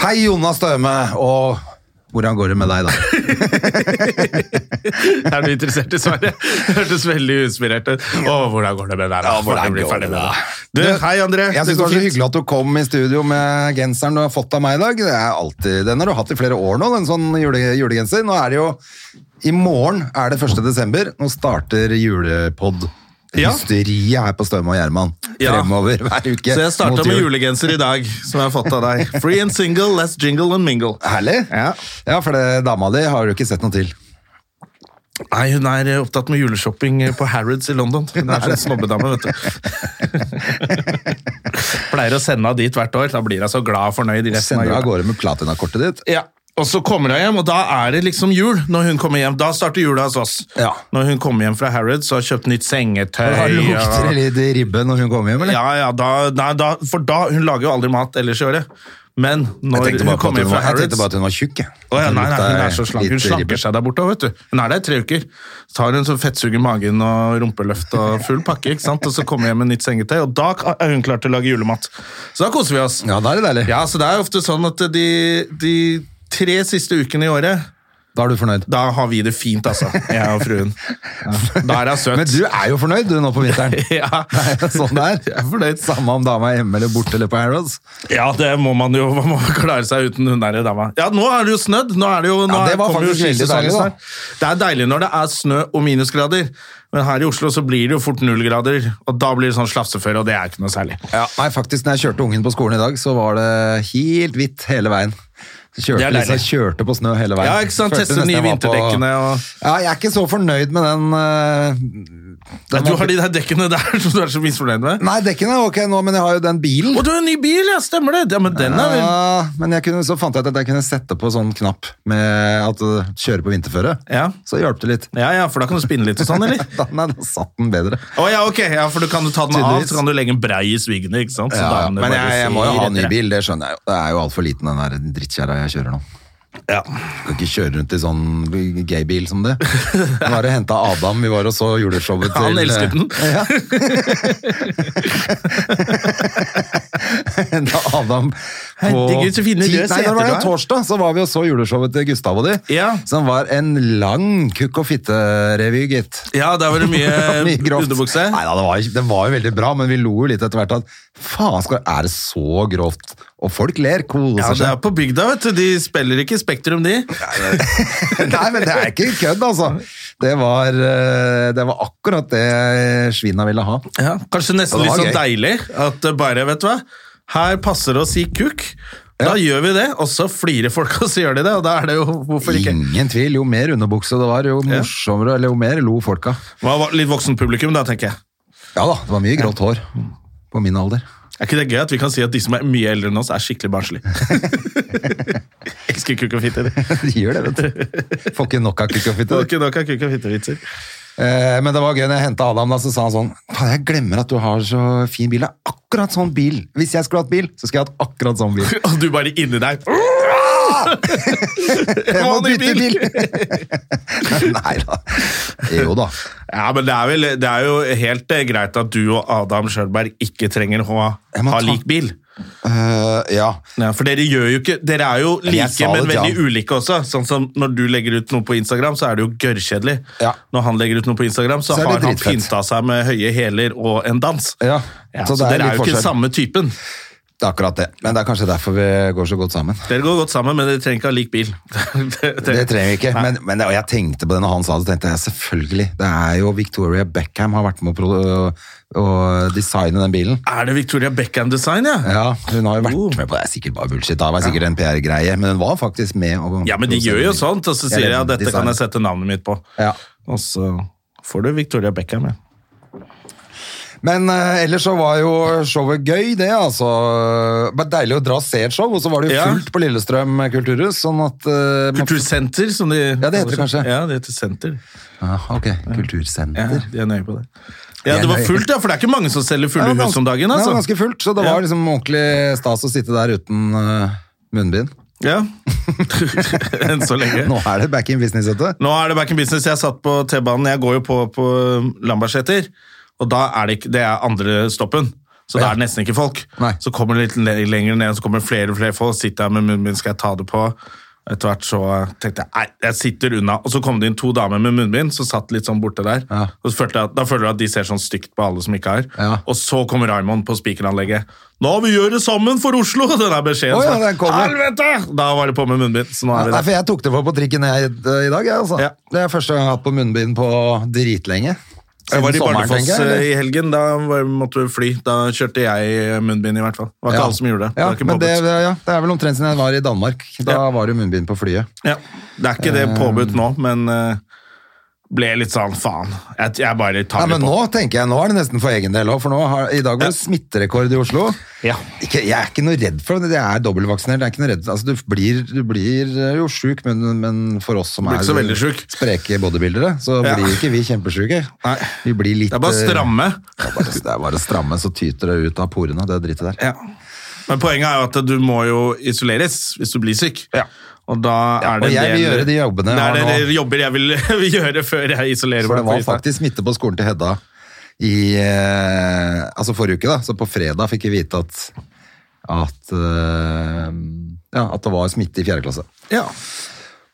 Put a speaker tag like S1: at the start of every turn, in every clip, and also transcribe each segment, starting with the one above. S1: Hei, Jonas Støme, og hvordan går det med deg, da?
S2: Er du interessert i svaret? Det Hørtes veldig uinspirert ut. Å, hvordan går det med deg? da?
S1: Ja, hvordan
S2: Får du bli
S1: går
S2: ferdig
S1: det
S2: med
S1: da?
S2: Du, hei, André.
S1: Jeg synes det var så hyggelig at du kom i studio med genseren du har fått av meg i dag. Det er alltid, den har du hatt i flere år nå, den sånn jule, julegenser. Nå er det jo, i morgen er det 1. desember, nå starter julepodd.
S2: Ja.
S1: Hysteriet her på Støme og Gjermann
S2: Ja.
S1: fremover hver uke.
S2: Så jeg starta
S1: mot
S2: med
S1: jul.
S2: julegenser i dag, som jeg har fått av deg. Free and single, let's jingle and mingle.
S1: Herlig.
S2: Ja.
S1: Ja, for det, dama di har du ikke sett noe til.
S2: Nei, hun er eh, opptatt med juleshopping eh, på Harrods i London. Hun er sånn snobbedame, vet du. Pleier å sende henne dit hvert år. Da blir hun så glad og fornøyd. i resten av
S1: Sender du av
S2: jula.
S1: gårde med platinakortet ditt?
S2: Ja, og så kommer hun hjem, og da er det liksom jul når hun kommer hjem. Da starter jula hos oss.
S1: Ja.
S2: Når hun kommer hjem fra Harrods og har kjøpt nytt sengetøy.
S1: Da lukter det
S2: og-
S1: litt ribbe når hun kommer hjem, eller?
S2: Ja, ja, da, nei, da, for da, hun lager jo aldri mat ellers i året. Men når
S1: Jeg tenkte,
S2: hun
S1: bare på, at
S2: kommer
S1: hun
S2: hjem fra
S1: var, jeg
S2: Harrods
S1: tenkte bare at hun var tjukk. jeg.
S2: Å, ja,
S1: At det
S2: nei, nei, hun er
S1: lukta
S2: så slank.
S1: litt
S2: Hun
S1: ribbe.
S2: slanker seg der borte, vet du. Hun er der i tre uker. Så tar hun sånn fettsuger i magen og rumpeløft og full pakke, ikke sant? Og så kommer hun hjem med nytt sengetøy, og da er hun klar til å lage julemat. Så da koser vi oss.
S1: Ja, da er det deilig.
S2: Ja, så det er ofte sånn at de, de tre siste ukene i året,
S1: Da er du fornøyd.
S2: da har vi det fint, altså. Jeg og fruen. Ja. Da er hun søt.
S1: Men du er jo fornøyd du nå på vinteren.
S2: Ja.
S1: Det er jo sånn det er.
S2: Jeg er fornøyd.
S1: Samme om dama er hjemme eller borte eller på Harrods.
S2: Ja, det må man jo man må klare seg uten hun der dama. Ja, nå er det jo snødd. Nå er det jo, nå
S1: Ja, det var
S2: kommer jo
S1: faktisk veldig
S2: skisesongen
S1: deilig, da.
S2: snart. Det er deilig når det er snø og minusgrader, men her i Oslo så blir det jo fort nullgrader, og da blir det sånn slafseføre, og det er ikke noe særlig.
S1: Nei, faktisk, når jeg kjørte ungen på skolen i dag, så var det helt hvitt hele veien. Så
S2: Det
S1: Kjørte,
S2: er
S1: liksom,
S2: deilig.
S1: kjørte på snø hele veien.
S2: Ja, ikke sant?
S1: Følte
S2: Teste
S1: nesten
S2: nye
S1: jeg var på-
S2: vinterdekkene og-
S1: Ja, jeg er ikke så fornøyd med den øh,
S2: Nei,
S1: den
S2: du
S1: var-
S2: har de der dekkene der som du er så misfornøyd med.
S1: Nei, dekkene er ok nå, men jeg har jo den bilen.
S2: Å, du har en ny bil, ja, stemmer det? Ja, men den er vel...
S1: Ja, men jeg kunne, så fant jeg ut at jeg kunne sette på sånn knapp med at uh, kjøre på vinterføre.
S2: Ja.
S1: Så hjalp det litt.
S2: Ja, ja, for da kan du spinne litt og sånn, eller?
S1: Da, nei, da satt den bedre.
S2: Å ja, ok, ja, for du kan du ta den av,
S1: Tydeligvis.
S2: så kan du legge en brei i svingene, ikke sant? Så
S1: Ja,
S2: damene
S1: men
S2: bare
S1: jeg, jeg må jo
S2: ser
S1: ha ny
S2: etter deg.
S1: bil, det skjønner jeg jo. Det er jo altfor liten den der drittkjerra jeg kjører nå.
S2: Ja.
S1: Kan ikke kjøre rundt i sånn gaybil som det. Nå har jeg henta Adam, vi var og så juleshowet til eh,
S2: Han elsket den.
S1: Ja. Henta Adam på
S2: Herregud, så fine
S1: ti-
S2: røde
S1: Nei,
S2: seter
S1: det var
S2: du
S1: jo
S2: har.
S1: torsdag, så var vi og så juleshowet til Gustav og de.
S2: Ja.
S1: Som var en lang kukk og fitte-revy, gitt.
S2: ja, der var det mye
S1: grovt.
S2: Eh, underbukse.
S1: Nei, da, det, var, det var jo veldig bra, men vi lo jo litt etter hvert at faen, skal, er det så grovt? Og folk ler, koser
S2: Ja, det er
S1: seg.
S2: på bygda, vet du. De spiller ikke Spektrum, de.
S1: Nei, men det er ikke kødd, altså. Det var, eh, det var akkurat det svina ville ha. Ja, det
S2: Kanskje nesten litt
S1: var
S2: sånn
S1: gøy.
S2: deilig at det bare, vet du hva, her passer det å si kuk. Da gjør vi det, og så flirer folk, og så gjør de det, og da er det jo Hvorfor ikke?
S1: Ingen tvil. Jo mer underbukse det var, jo morsommere, eller jo mer lo folka.
S2: Det var litt voksen publikum, da, tenker jeg.
S1: Ja da, det var mye grått hår på min alder.
S2: Er ikke det gøy at vi kan si at de som er mye eldre enn oss, er skikkelig barnslige? Elsker kuk og fitte. de.
S1: De gjør det, vet du. Får ikke nok av kukk og
S2: Det
S1: fitte.
S2: var ikke nok av kuk og fitte-vitser.
S1: Eh, men det var gøy når jeg hentet Adam, da, så sa han sånn Faen, jeg glemmer at du har så fin bil. Det er akkurat sånn bil. Hvis jeg skulle hatt bil, så skulle jeg hatt akkurat sånn bil.
S2: Og du bare inni deg
S1: Jeg må
S2: Må ny
S1: bytte
S2: bil.
S1: bil! Nei da. Jo da.
S2: Ja, men det er, vel, det er jo helt eh, greit at du og Adam Schjølberg ikke trenger å ha,
S1: Jeg må
S2: ha
S1: ta-
S2: lik bil.
S1: Eh, ja.
S2: Ja, for dere gjør jo ikke Dere er jo
S1: jeg
S2: like,
S1: sa det
S2: men
S1: til
S2: veldig
S1: han.
S2: ulike også. Sånn som når du legger ut noe på Instagram, så er det jo gørrkjedelig.
S1: Ja.
S2: Når han legger ut noe på Instagram, så,
S1: Så er det
S2: har han
S1: dritfett.
S2: pynta seg med høye hæler og en dans.
S1: Ja,
S2: så,
S1: så det er
S2: dere er
S1: litt
S2: jo ikke
S1: forskjell.
S2: samme typen.
S1: Det er akkurat det. Men det er kanskje derfor vi går så godt sammen.
S2: Dere går godt sammen, men dere trenger ikke ha lik bil. det, det-
S1: Det trenger vi ikke. Men, men det, og jeg tenkte på det når han sa det, så tenkte jeg selvfølgelig. Det er jo Victoria Beckham har vært med å, pro- å, å designe den bilen.
S2: Er det Victoria Beckham-design, ja?
S1: Ja, hun har jo vært
S2: Oh.
S1: med på det. Det er sikkert bare bullshit. Da var det sikkert en PR-greie, men hun var faktisk med. Og,
S2: Ja, men de gjør jo sånt, og så sier de
S1: Eller
S2: ja, dette kan
S1: design.
S2: jeg sette navnet mitt på.
S1: Ja.
S2: Og så får du Victoria Beckham, ja.
S1: Men eh, ellers så var jo showet gøy, det. altså. Det var deilig å dra og se et show, og så var det jo
S2: Ja.
S1: fullt på Lillestrøm kulturhus. sånn at... eh, man-
S2: Kultursenter, som de
S1: Ja, det heter det kanskje.
S2: Ja, det heter senter.
S1: Ah, ok,
S2: Ja,
S1: kultursenter.
S2: de er nøye på det.
S1: De
S2: Ja,
S1: er
S2: Det var
S1: nøye.
S2: fullt, ja, for det er ikke mange som selger
S1: Det
S2: fulle
S1: var
S2: hus om dagen.
S1: Det
S2: altså.
S1: var ganske fullt, så det
S2: Ja.
S1: var liksom ordentlig stas å sitte der uten eh, munnbind.
S2: Ja. Enn så lenge.
S1: Nå er det back in business, vet du.
S2: Nå er det back in business. Jeg satt på T-banen. Jeg går jo på, på Lambertseter, og da er det, ikke, det er andre stoppen. Så da
S1: Ja.
S2: er det nesten ikke folk.
S1: Nei.
S2: Så kommer det litt le- lenger ned, så kommer det flere og flere folk. Sitter jeg med munnbind, skal jeg ta det på? Etter hvert så tenkte jeg nei, jeg sitter unna. Og så kom det inn to damer med munnbind som satt litt sånn borte der.
S1: Ja.
S2: Og så følte jeg, at- da føler du at de ser sånn stygt på alle som ikke har.
S1: Ja.
S2: Og så kommer Raymond på spikeranlegget. Nå vi gjør det sammen for Oslo! Den er beskjeden.
S1: Å ja,
S2: som er,
S1: den kommer.
S2: Helvete! Da var det på med munnbind. Så nå er vi
S1: Nei,
S2: der.
S1: for jeg tok det for på trikken jeg, eh, i dag, jeg, altså.
S2: Ja.
S1: Det er første gang jeg har hatt på munnbind på dritlenge.
S2: Jeg var i
S1: Siden sommeren,
S2: Bardufoss
S1: tenker jeg,
S2: eh,
S1: eller?
S2: i helgen. Da var, måtte vi fly. Da kjørte jeg eh, munnbind, i hvert fall. Det var ikke
S1: Ja.
S2: alle som gjorde
S1: Ja,
S2: det. det, var ikke
S1: men det,
S2: påbudt.
S1: ja, det er vel omtrent siden jeg var i Danmark. Da
S2: Ja.
S1: var det munnbind på flyet.
S2: Ja. det er ikke det påbudt nå, men eh, ble litt sånn faen. Jeg, jeg bare
S1: Nei,
S2: tar det
S1: men
S2: på.
S1: nå tenker jeg, nå er det nesten for egen del òg, for nå har, i dag var det smitterekord i Oslo.
S2: Ja.
S1: Ikke, jeg er ikke noe redd for det, jeg er dobbeltvaksinert. Jeg er ikke noe redd. Altså, du, blir, du blir eh, jo sjuk, men, men for oss som
S2: Blir
S1: er
S2: ikke så veldig sjuk.
S1: spreke bodybuildere, så
S2: Ja.
S1: blir ikke vi kjempesjuke.
S2: Nei.
S1: Vi blir litt
S2: Det er bare å
S1: eh,
S2: stramme.
S1: Det er bare, det er bare å stramme, så tyter det ut av porene, det dritet der.
S2: Ja. Men poenget er jo at du må jo isoleres hvis du blir syk.
S1: Ja.
S2: Og da er det
S1: og
S2: en
S1: jeg vil
S2: del-
S1: gjøre de jobbene jeg
S2: Det
S1: har
S2: er
S1: nå.
S2: det de jobber jeg vil, vil gjøre før jeg isolerer
S1: For det
S2: meg på
S1: var
S2: Island.
S1: faktisk smitte på skolen til Hedda i eh, Altså forrige uke, da. Så på fredag fikk vi vite at at, eh, ja, at det var smitte i fjerde klasse.
S2: Ja.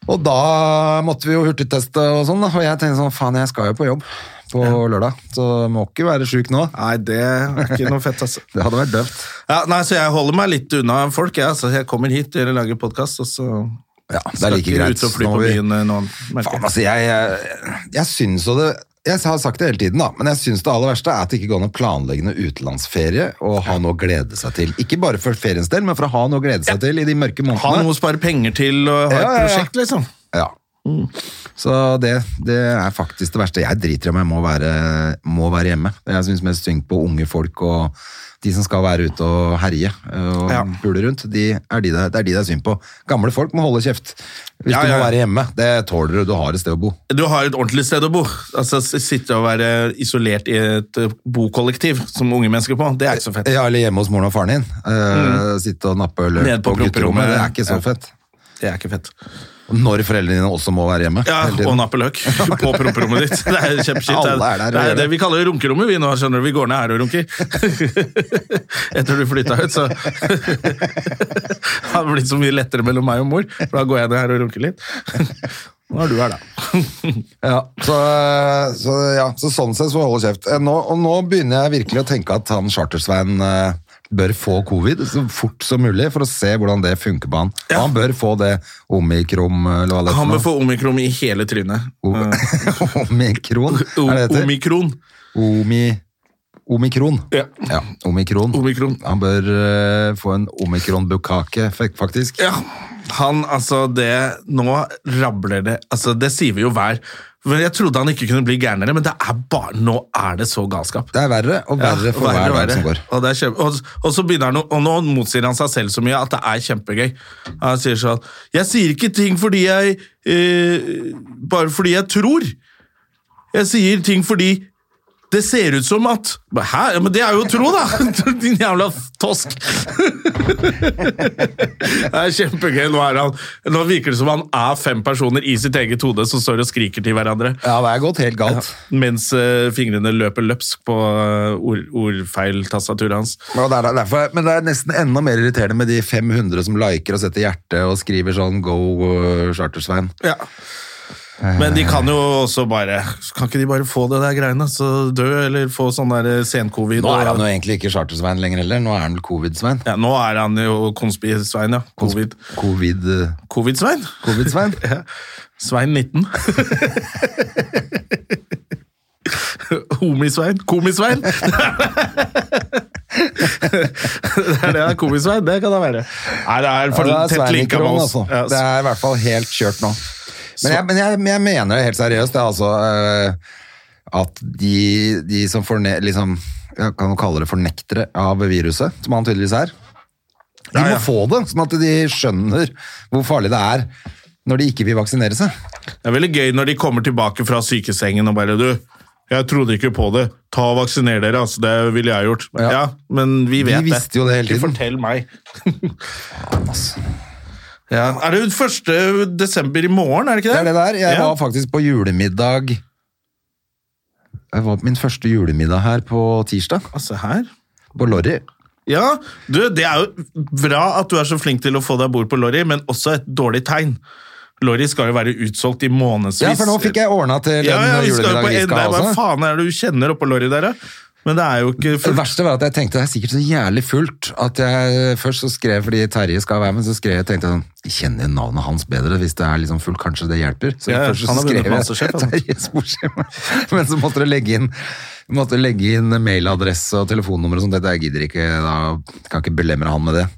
S1: Og da måtte vi jo hurtigteste og sånn, da. Og jeg tenkte sånn faen, jeg skal jo på jobb på lørdag, så må ikke være sjuk nå.
S2: Nei, det er ikke noe fett, altså.
S1: Det hadde vært døvt.
S2: Ja, nei, så jeg holder meg litt unna folk. Jeg, altså, jeg kommer hit og lager podkast, og så
S1: Ja, det er like
S2: ikke
S1: greit.
S2: ut og fly
S1: Nå
S2: på
S1: må vi-
S2: byen eh, nå, merker
S1: Faen,
S2: jeg.
S1: altså, jeg, jeg, jeg syns jo det Jeg har sagt det hele tiden, da, men jeg syns det aller verste er at det ikke går an å planlegge noe utenlandsferie og ha noe å glede seg til. Ikke bare for feriens del, men for å ha noe å glede seg til i de mørke
S2: Ha noe
S1: månedene.
S2: å spare penger til og
S1: Ja,
S2: ha
S1: ja,
S2: et
S1: ja.
S2: prosjekt, liksom.
S1: Ja. Så det, det er faktisk det verste. Jeg driter i om jeg må være, må være hjemme. Jeg syns mest synd på unge folk og de som skal være ute og herje og
S2: Ja.
S1: pule rundt. De er de det, det er de det er synd på. Gamle folk må holde kjeft. Hvis
S2: Ja,
S1: du må
S2: ja.
S1: være hjemme, det tåler du. Du har et sted å bo.
S2: Du har et ordentlig sted å bo. Altså, s- Sitte og være isolert i et eh, bokollektiv som unge mennesker på, det er ikke så fett.
S1: Ja, eller hjemme hos moren og faren din. Eh, Sitte og nappe løk
S2: Mm. Nede
S1: på,
S2: på
S1: gutterommet.
S2: grupperommet.
S1: Det er ikke så
S2: Ja.
S1: fett.
S2: Det er ikke fett.
S1: Når foreldrene dine også må være hjemme.
S2: Ja,
S1: hele tiden.
S2: Og nappe løk på promperommet ditt. Det er kjempeskitt. Det
S1: Alle er der og
S2: det,
S1: gjør
S2: er det
S1: det.
S2: vi kaller runkerommet, vi nå. skjønner du. Vi går ned her og runker. Etter du flytta ut, så Det har blitt så mye lettere mellom meg og mor, for da går jeg ned her og runker litt. Nå er du her, da.
S1: Ja, så, så, ja, så sånn sett så holde kjeft. Eh, Nå, og nå begynner jeg virkelig å tenke at han Chartersveien eh, bør få covid så fort som mulig for å se hvordan det funker på han. Og han bør få det omikron, eh, eller hva det
S2: Han bør
S1: heter.
S2: få omikron i hele trynet.
S1: nå. Omikron, er det det heter?
S2: Omikron.
S1: Omi, omikron.
S2: Ja.
S1: Ja, omikron.
S2: Omikron.
S1: Han bør eh, få en omikron-bukake, fak- faktisk.
S2: Ja, han, altså det Nå rabler det. Altså, det sier vi jo hver Men Jeg trodde han ikke kunne bli gærnere, men det er bare, nå er det så galskap.
S1: Det er verre og
S2: Ja,
S1: verre for hver dag som går.
S2: Og, det er kjempe, og, og så begynner han å- Og nå motsier han seg selv så mye at det er kjempegøy. Han sier sånn Jeg sier ikke ting fordi jeg eh, Bare fordi jeg tror. Jeg sier ting fordi det ser ut som at Hæ? Ja, Men det er jo å tro, da! Din jævla tosk. Det er kjempegøy. Nå, er han, nå virker det som han er fem personer i sitt eget hode som står og skriker til hverandre.
S1: Ja, det er gått helt galt.
S2: Mens eh, fingrene løper løpsk på eh, ord, ordfeiltastaturet hans.
S1: Og det er der- derfor, men det er nesten enda mer irriterende med de 500 som liker og setter hjerte og skriver sånn Go, uh, Chartersveien.
S2: Men de kan jo også bare Kan ikke de bare få det der greiene? Så dø, eller få sånn der sen-covid.
S1: Nå er han jo
S2: og-
S1: egentlig ikke Chartersveien lenger heller. Nå er han vel Covid-Svein.
S2: ja, nå er han jo konspi-Svein, ja. Covid-
S1: Covid, uh,
S2: Covid-Svein?
S1: Covid-Svein?
S2: ja. Svein 19. Homi-Svein. Komi-Svein! det er det han er. Komi-Svein, det kan det være. Nei, det er for
S1: Ja, det er
S2: tett linka
S1: Sveinikron,
S2: med oss.
S1: altså.
S2: Ja,
S1: Det er i hvert fall helt kjørt nå. Men jeg, men jeg, men jeg mener det helt seriøst, det er altså eh, at de, de som forne, liksom jeg kan jo kalle det fornektere av viruset, som han tydeligvis er. De må
S2: Ja, ja.
S1: få det, sånn at de skjønner hvor farlig det er når de ikke vil vaksinere seg.
S2: Det er veldig gøy når de kommer tilbake fra sykesengen og bare du, jeg trodde ikke på det. Ta og vaksiner dere, altså. Det ville jeg gjort. Ja,
S1: Ja.
S2: men vi vet det.
S1: visste jo det hele tiden.
S2: Ikke fortell meg. ja. Er det 1. desember i morgen, er det ikke
S1: Det er
S2: det?
S1: det der. Jeg
S2: Ja.
S1: var faktisk på julemiddag Jeg var på min første julemiddag her på tirsdag,
S2: Altså, her.
S1: på Lorry.
S2: Ja, du, det er jo bra at du er så flink til å få deg bord på Lorry, men også et dårlig tegn. Lorry skal jo være utsolgt i månedsvis.
S1: Ja, for nå fikk jeg ordna til den
S2: ja, ja, vi skal jo på
S1: julemiddagen vi
S2: en,
S1: skal ha
S2: Hva
S1: også.
S2: faen er det du kjenner oppå Lorry der, da? Men det er jo ikke
S1: Det
S2: fullt.
S1: verste var at jeg tenkte det er sikkert så jævlig fullt at jeg først så skrev fordi Terje skal være med, så skrev jeg tenkte jeg sånn Jeg kjenner jo navnet hans bedre hvis det er liksom fullt, kanskje det hjelper. Så
S2: Ja, ja,
S1: først så
S2: han har vunnet
S1: skrev
S2: Masterchef,
S1: jeg
S2: han.
S1: Terje Sporsem, men så måtte du legge inn måtte legge inn mailadresse og telefonnummer og sånt. Dette jeg gidder ikke, da kan jeg ikke belemre han med det.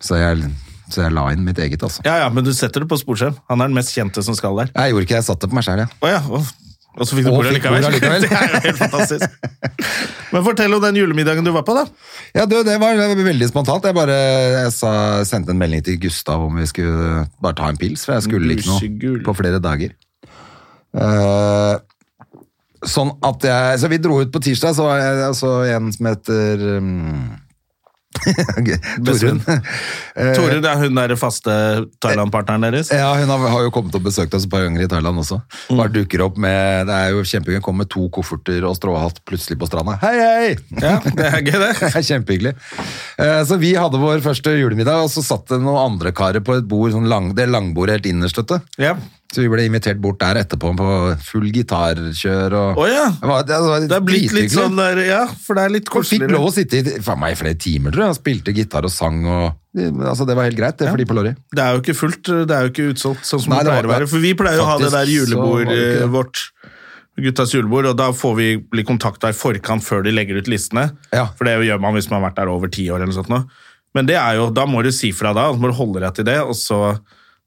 S1: Så jeg, så jeg la inn mitt eget, altså.
S2: Ja, ja, men du setter det på sporskjerm. Han er den mest kjente som skal der.
S1: Jeg gjorde ikke det, jeg satte det på meg sjøl, jeg.
S2: Å ja, og, og så fikk du
S1: Og
S2: bordet
S1: fikk bordet likevel.
S2: likevel. det er jo helt fantastisk. Men fortell om den julemiddagen du var på, da.
S1: Ja, du, det var veldig spontant. Jeg bare jeg sa, sendte en melding til Gustav om vi skulle bare ta en pils, for jeg skulle ikke noe
S2: Lusegul.
S1: på flere dager. Eh, sånn at jeg Så vi dro ut på tirsdag, så var jeg så en som heter um, Torunn. Eh,
S2: Tore, det er hun der faste Thailand-partneren deres.
S1: Ja, hun har, har jo kommet og besøkt oss et par ganger i Thailand også. Bare dukker opp med Det er jo kjempegøy. Kommer med to kofferter og stråhatt plutselig på stranda. Hei, hei!
S2: Ja, det er gøy, det.
S1: Det er kjempehyggelig. Eh, Så vi hadde vår første julemiddag, og så satt det noen andre karer på et bord, sånn lang, det langbordet helt innerst, vet du.
S2: Ja.
S1: Så vi ble invitert bort der etterpå på full gitarkjør og
S2: Å ja.
S1: Det var, det var
S2: Det er blitt litt
S1: drithyggelig.
S2: sånn der, ja, for det er litt
S1: Folk fikk
S2: koseligere.
S1: lov å sitte i faen meg, i flere timer, tror jeg. og Spilte gitar og sang og Altså, det var helt greit, det, for de på Lorry.
S2: Det er jo ikke fullt, det er jo ikke utsolgt sånn som
S1: Nei,
S2: det
S1: det
S2: pleier å
S1: var-
S2: være. For vi pleier å ha det
S1: faktisk så var det
S2: der
S1: ikke
S2: julebordet
S1: det.
S2: vårt, guttas julebord, og da får vi bli kontakta i forkant før de legger ut listene.
S1: Ja.
S2: For det gjør man hvis man har vært der over ti år eller noe sånt. nå. Men det er jo, da må du si fra da, og så må du holde deg til det, og så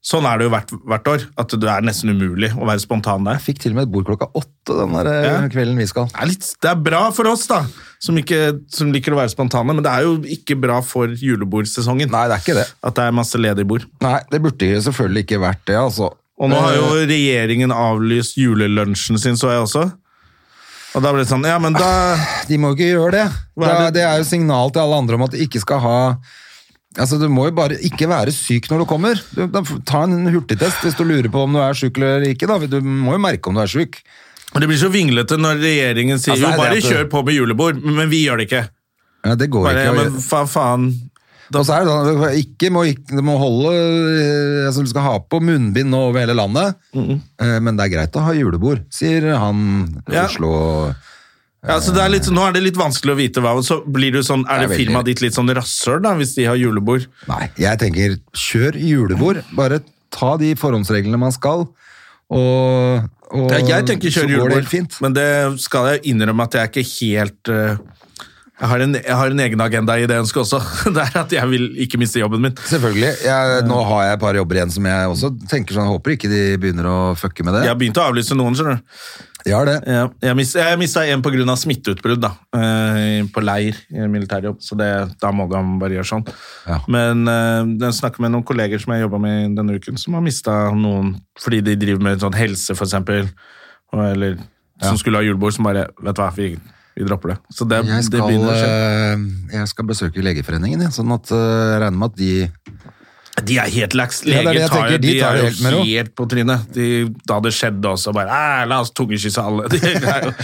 S2: Sånn er det jo hvert, hvert år, at det er nesten umulig å være spontan der.
S1: Jeg fikk til og med et bord klokka åtte den der eh,
S2: Ja.
S1: kvelden vi skal.
S2: Det er, litt, det er bra for oss, da, som, ikke, som liker å være spontane, men det er jo ikke bra for julebordsesongen
S1: Nei, det er ikke det.
S2: at det er masse ledige bord.
S1: Nei, det burde jo selvfølgelig ikke vært det, altså.
S2: Og nå har jo
S1: Eh,
S2: regjeringen avlyst julelunsjen sin, så jeg også. Og da ble det sånn, ja, men da
S1: De må jo ikke gjøre det.
S2: Hva er
S1: Da,
S2: det?
S1: det er jo signal til alle andre om at de ikke skal ha Altså, Du må jo bare ikke være syk når du kommer. Du, da, ta en hurtigtest hvis du lurer på om du er syk eller ikke. da. Du må jo merke om du er syk.
S2: Men Det blir så vinglete når regjeringen sier
S1: Altså, det er
S2: jo, bare
S1: det at du-
S2: kjør på med julebord, men vi gjør det ikke.
S1: Ja, det går
S2: Bare,
S1: ikke.
S2: ja,
S1: å
S2: men
S1: gjøre.
S2: fa faen.
S1: Og så er det sånn, ikke må, ikke, du må holde eh, altså, Du skal ha på munnbind nå over hele landet, Eh, men det er greit å ha julebord, sier han i
S2: Ja.
S1: Oslo.
S2: Ja, så det er litt, nå er det litt vanskelig å vite hva, og så blir du sånn,
S1: Det
S2: er det
S1: er veldig-
S2: firmaet ditt litt sånn rasshøl da, hvis de har julebord?
S1: Nei, jeg tenker kjør julebord. Bare ta de forhåndsreglene man skal, og, og
S2: Ja, jeg tenker
S1: så
S2: kjør
S1: går det
S2: julebord,
S1: helt fint.
S2: men det skal jeg innrømme at jeg er ikke helt... eh, jeg har, en, jeg har en egen agenda i det ønsket også. Det er at jeg vil ikke miste jobben min.
S1: Selvfølgelig. Jeg, nå har jeg et par jobber igjen som jeg også tenker sånn, håper ikke de begynner å fucke med det.
S2: Jeg har begynt å avlyse noen, skjønner du.
S1: Jeg har det.
S2: Ja, jeg, mis, jeg mista en pga. smitteutbrudd da, eh, på leir i militærjobb, så det, da må de bare gjøre sånn.
S1: Ja.
S2: Men eh, jeg snakker med noen kolleger som jeg jobba med denne uken, som har mista noen fordi de driver med sånn helse, for eksempel, og, eller som skulle ha julebord, som bare Vet du hva, vi, vi dropper det. Så det,
S1: Jeg
S2: det
S1: skal,
S2: begynner å skje.
S1: eh, jeg skal besøke Legeforeningen, jeg, sånn at eh, jeg regner med at de
S2: De er helt laks.
S1: Ja, det er
S2: Leger
S1: det jeg
S2: tar,
S1: tenker,
S2: de
S1: de tar
S2: er
S1: det
S2: jo
S1: helt med ro.
S2: helt på trynet. De, da det skjedde også, bare "Æ, La oss tungekysse alle. De, er jo,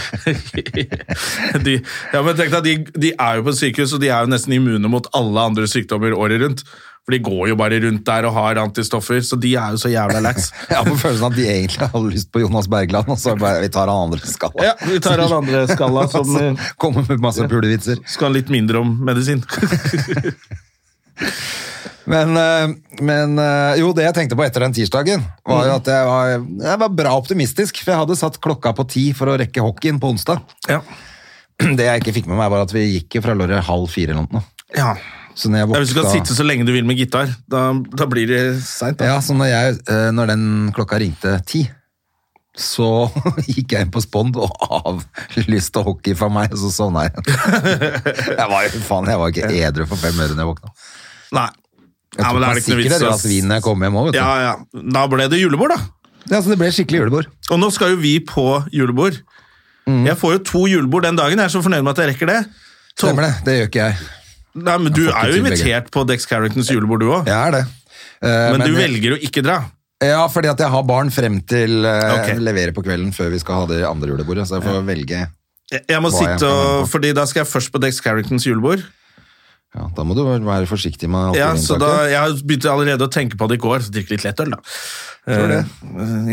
S2: de, ja, men tenk deg, de, de er jo på sykehus, og de er jo nesten immune mot alle andre sykdommer året rundt. For de går jo bare rundt der og har antistoffer, så de er jo så jævla lax.
S1: Jeg har på følelsen at de egentlig har lyst på Jonas Bergland, og så bare vi tar han andre skalla.
S2: Ja, vi tar han andre skalla som
S1: Altså,
S2: eh,
S1: Kommer med masse pulevitser.
S2: skal litt mindre om medisin.
S1: Men, eh, men eh, jo, det jeg tenkte på etter den tirsdagen, var
S2: Mm.
S1: jo at jeg var, jeg var bra optimistisk. For jeg hadde satt klokka på ti for å rekke hockeyen på onsdag.
S2: Ja.
S1: Det jeg ikke fikk med meg, var at vi gikk jo fra lorry halv fire eller noe.
S2: ja.
S1: Så når jeg
S2: Hvis du
S1: våkna
S2: kan sitte så lenge du vil med gitar, da, da blir det seint.
S1: Ja, så når, jeg, eh, når den klokka ringte ti, Så gikk jeg inn på Spond og avlyste hockey for meg, og så sovna jeg igjen. Jeg var jo faen, jeg var ikke edru for fem øre da jeg våkna.
S2: Nei.
S1: Jeg tok
S2: Nei, men det er
S1: meg
S2: det ikke noe
S1: sikkert
S2: vits
S1: et glass
S2: å-
S1: vin når jeg kom hjem òg, vet du.
S2: Ja,
S1: Ja.
S2: ja. Da ble det julebord, da.
S1: så det ble skikkelig julebord.
S2: Og nå skal jo vi på julebord.
S1: Mm.
S2: Jeg får jo to julebord den dagen. Jeg er så fornøyd med at jeg rekker det. Så-
S1: Stemmer det. Det gjør ikke jeg.
S2: Nei, men Du
S1: Jeg får
S2: er jo
S1: ikke til begge.
S2: invitert på Dex Carringtons julebord, du òg.
S1: Jeg er det. Eh,
S2: Men du
S1: jeg-
S2: velger å ikke dra.
S1: Ja, fordi at jeg har barn frem til eh,
S2: Ok.
S1: levere på kvelden før vi skal ha det andre julebordet, så jeg får velge.
S2: Jeg- Jeg må
S1: Hva jeg
S2: sitte
S1: kan
S2: og,
S1: vente på.
S2: fordi Da skal jeg først på Dex Carringtons julebord.
S1: Ja, da må du vel være forsiktig med
S2: Ja, så da,
S1: alkoholinntaket.
S2: Jeg begynte allerede å tenke på det i går, så drikke litt lettøl, da. Eh,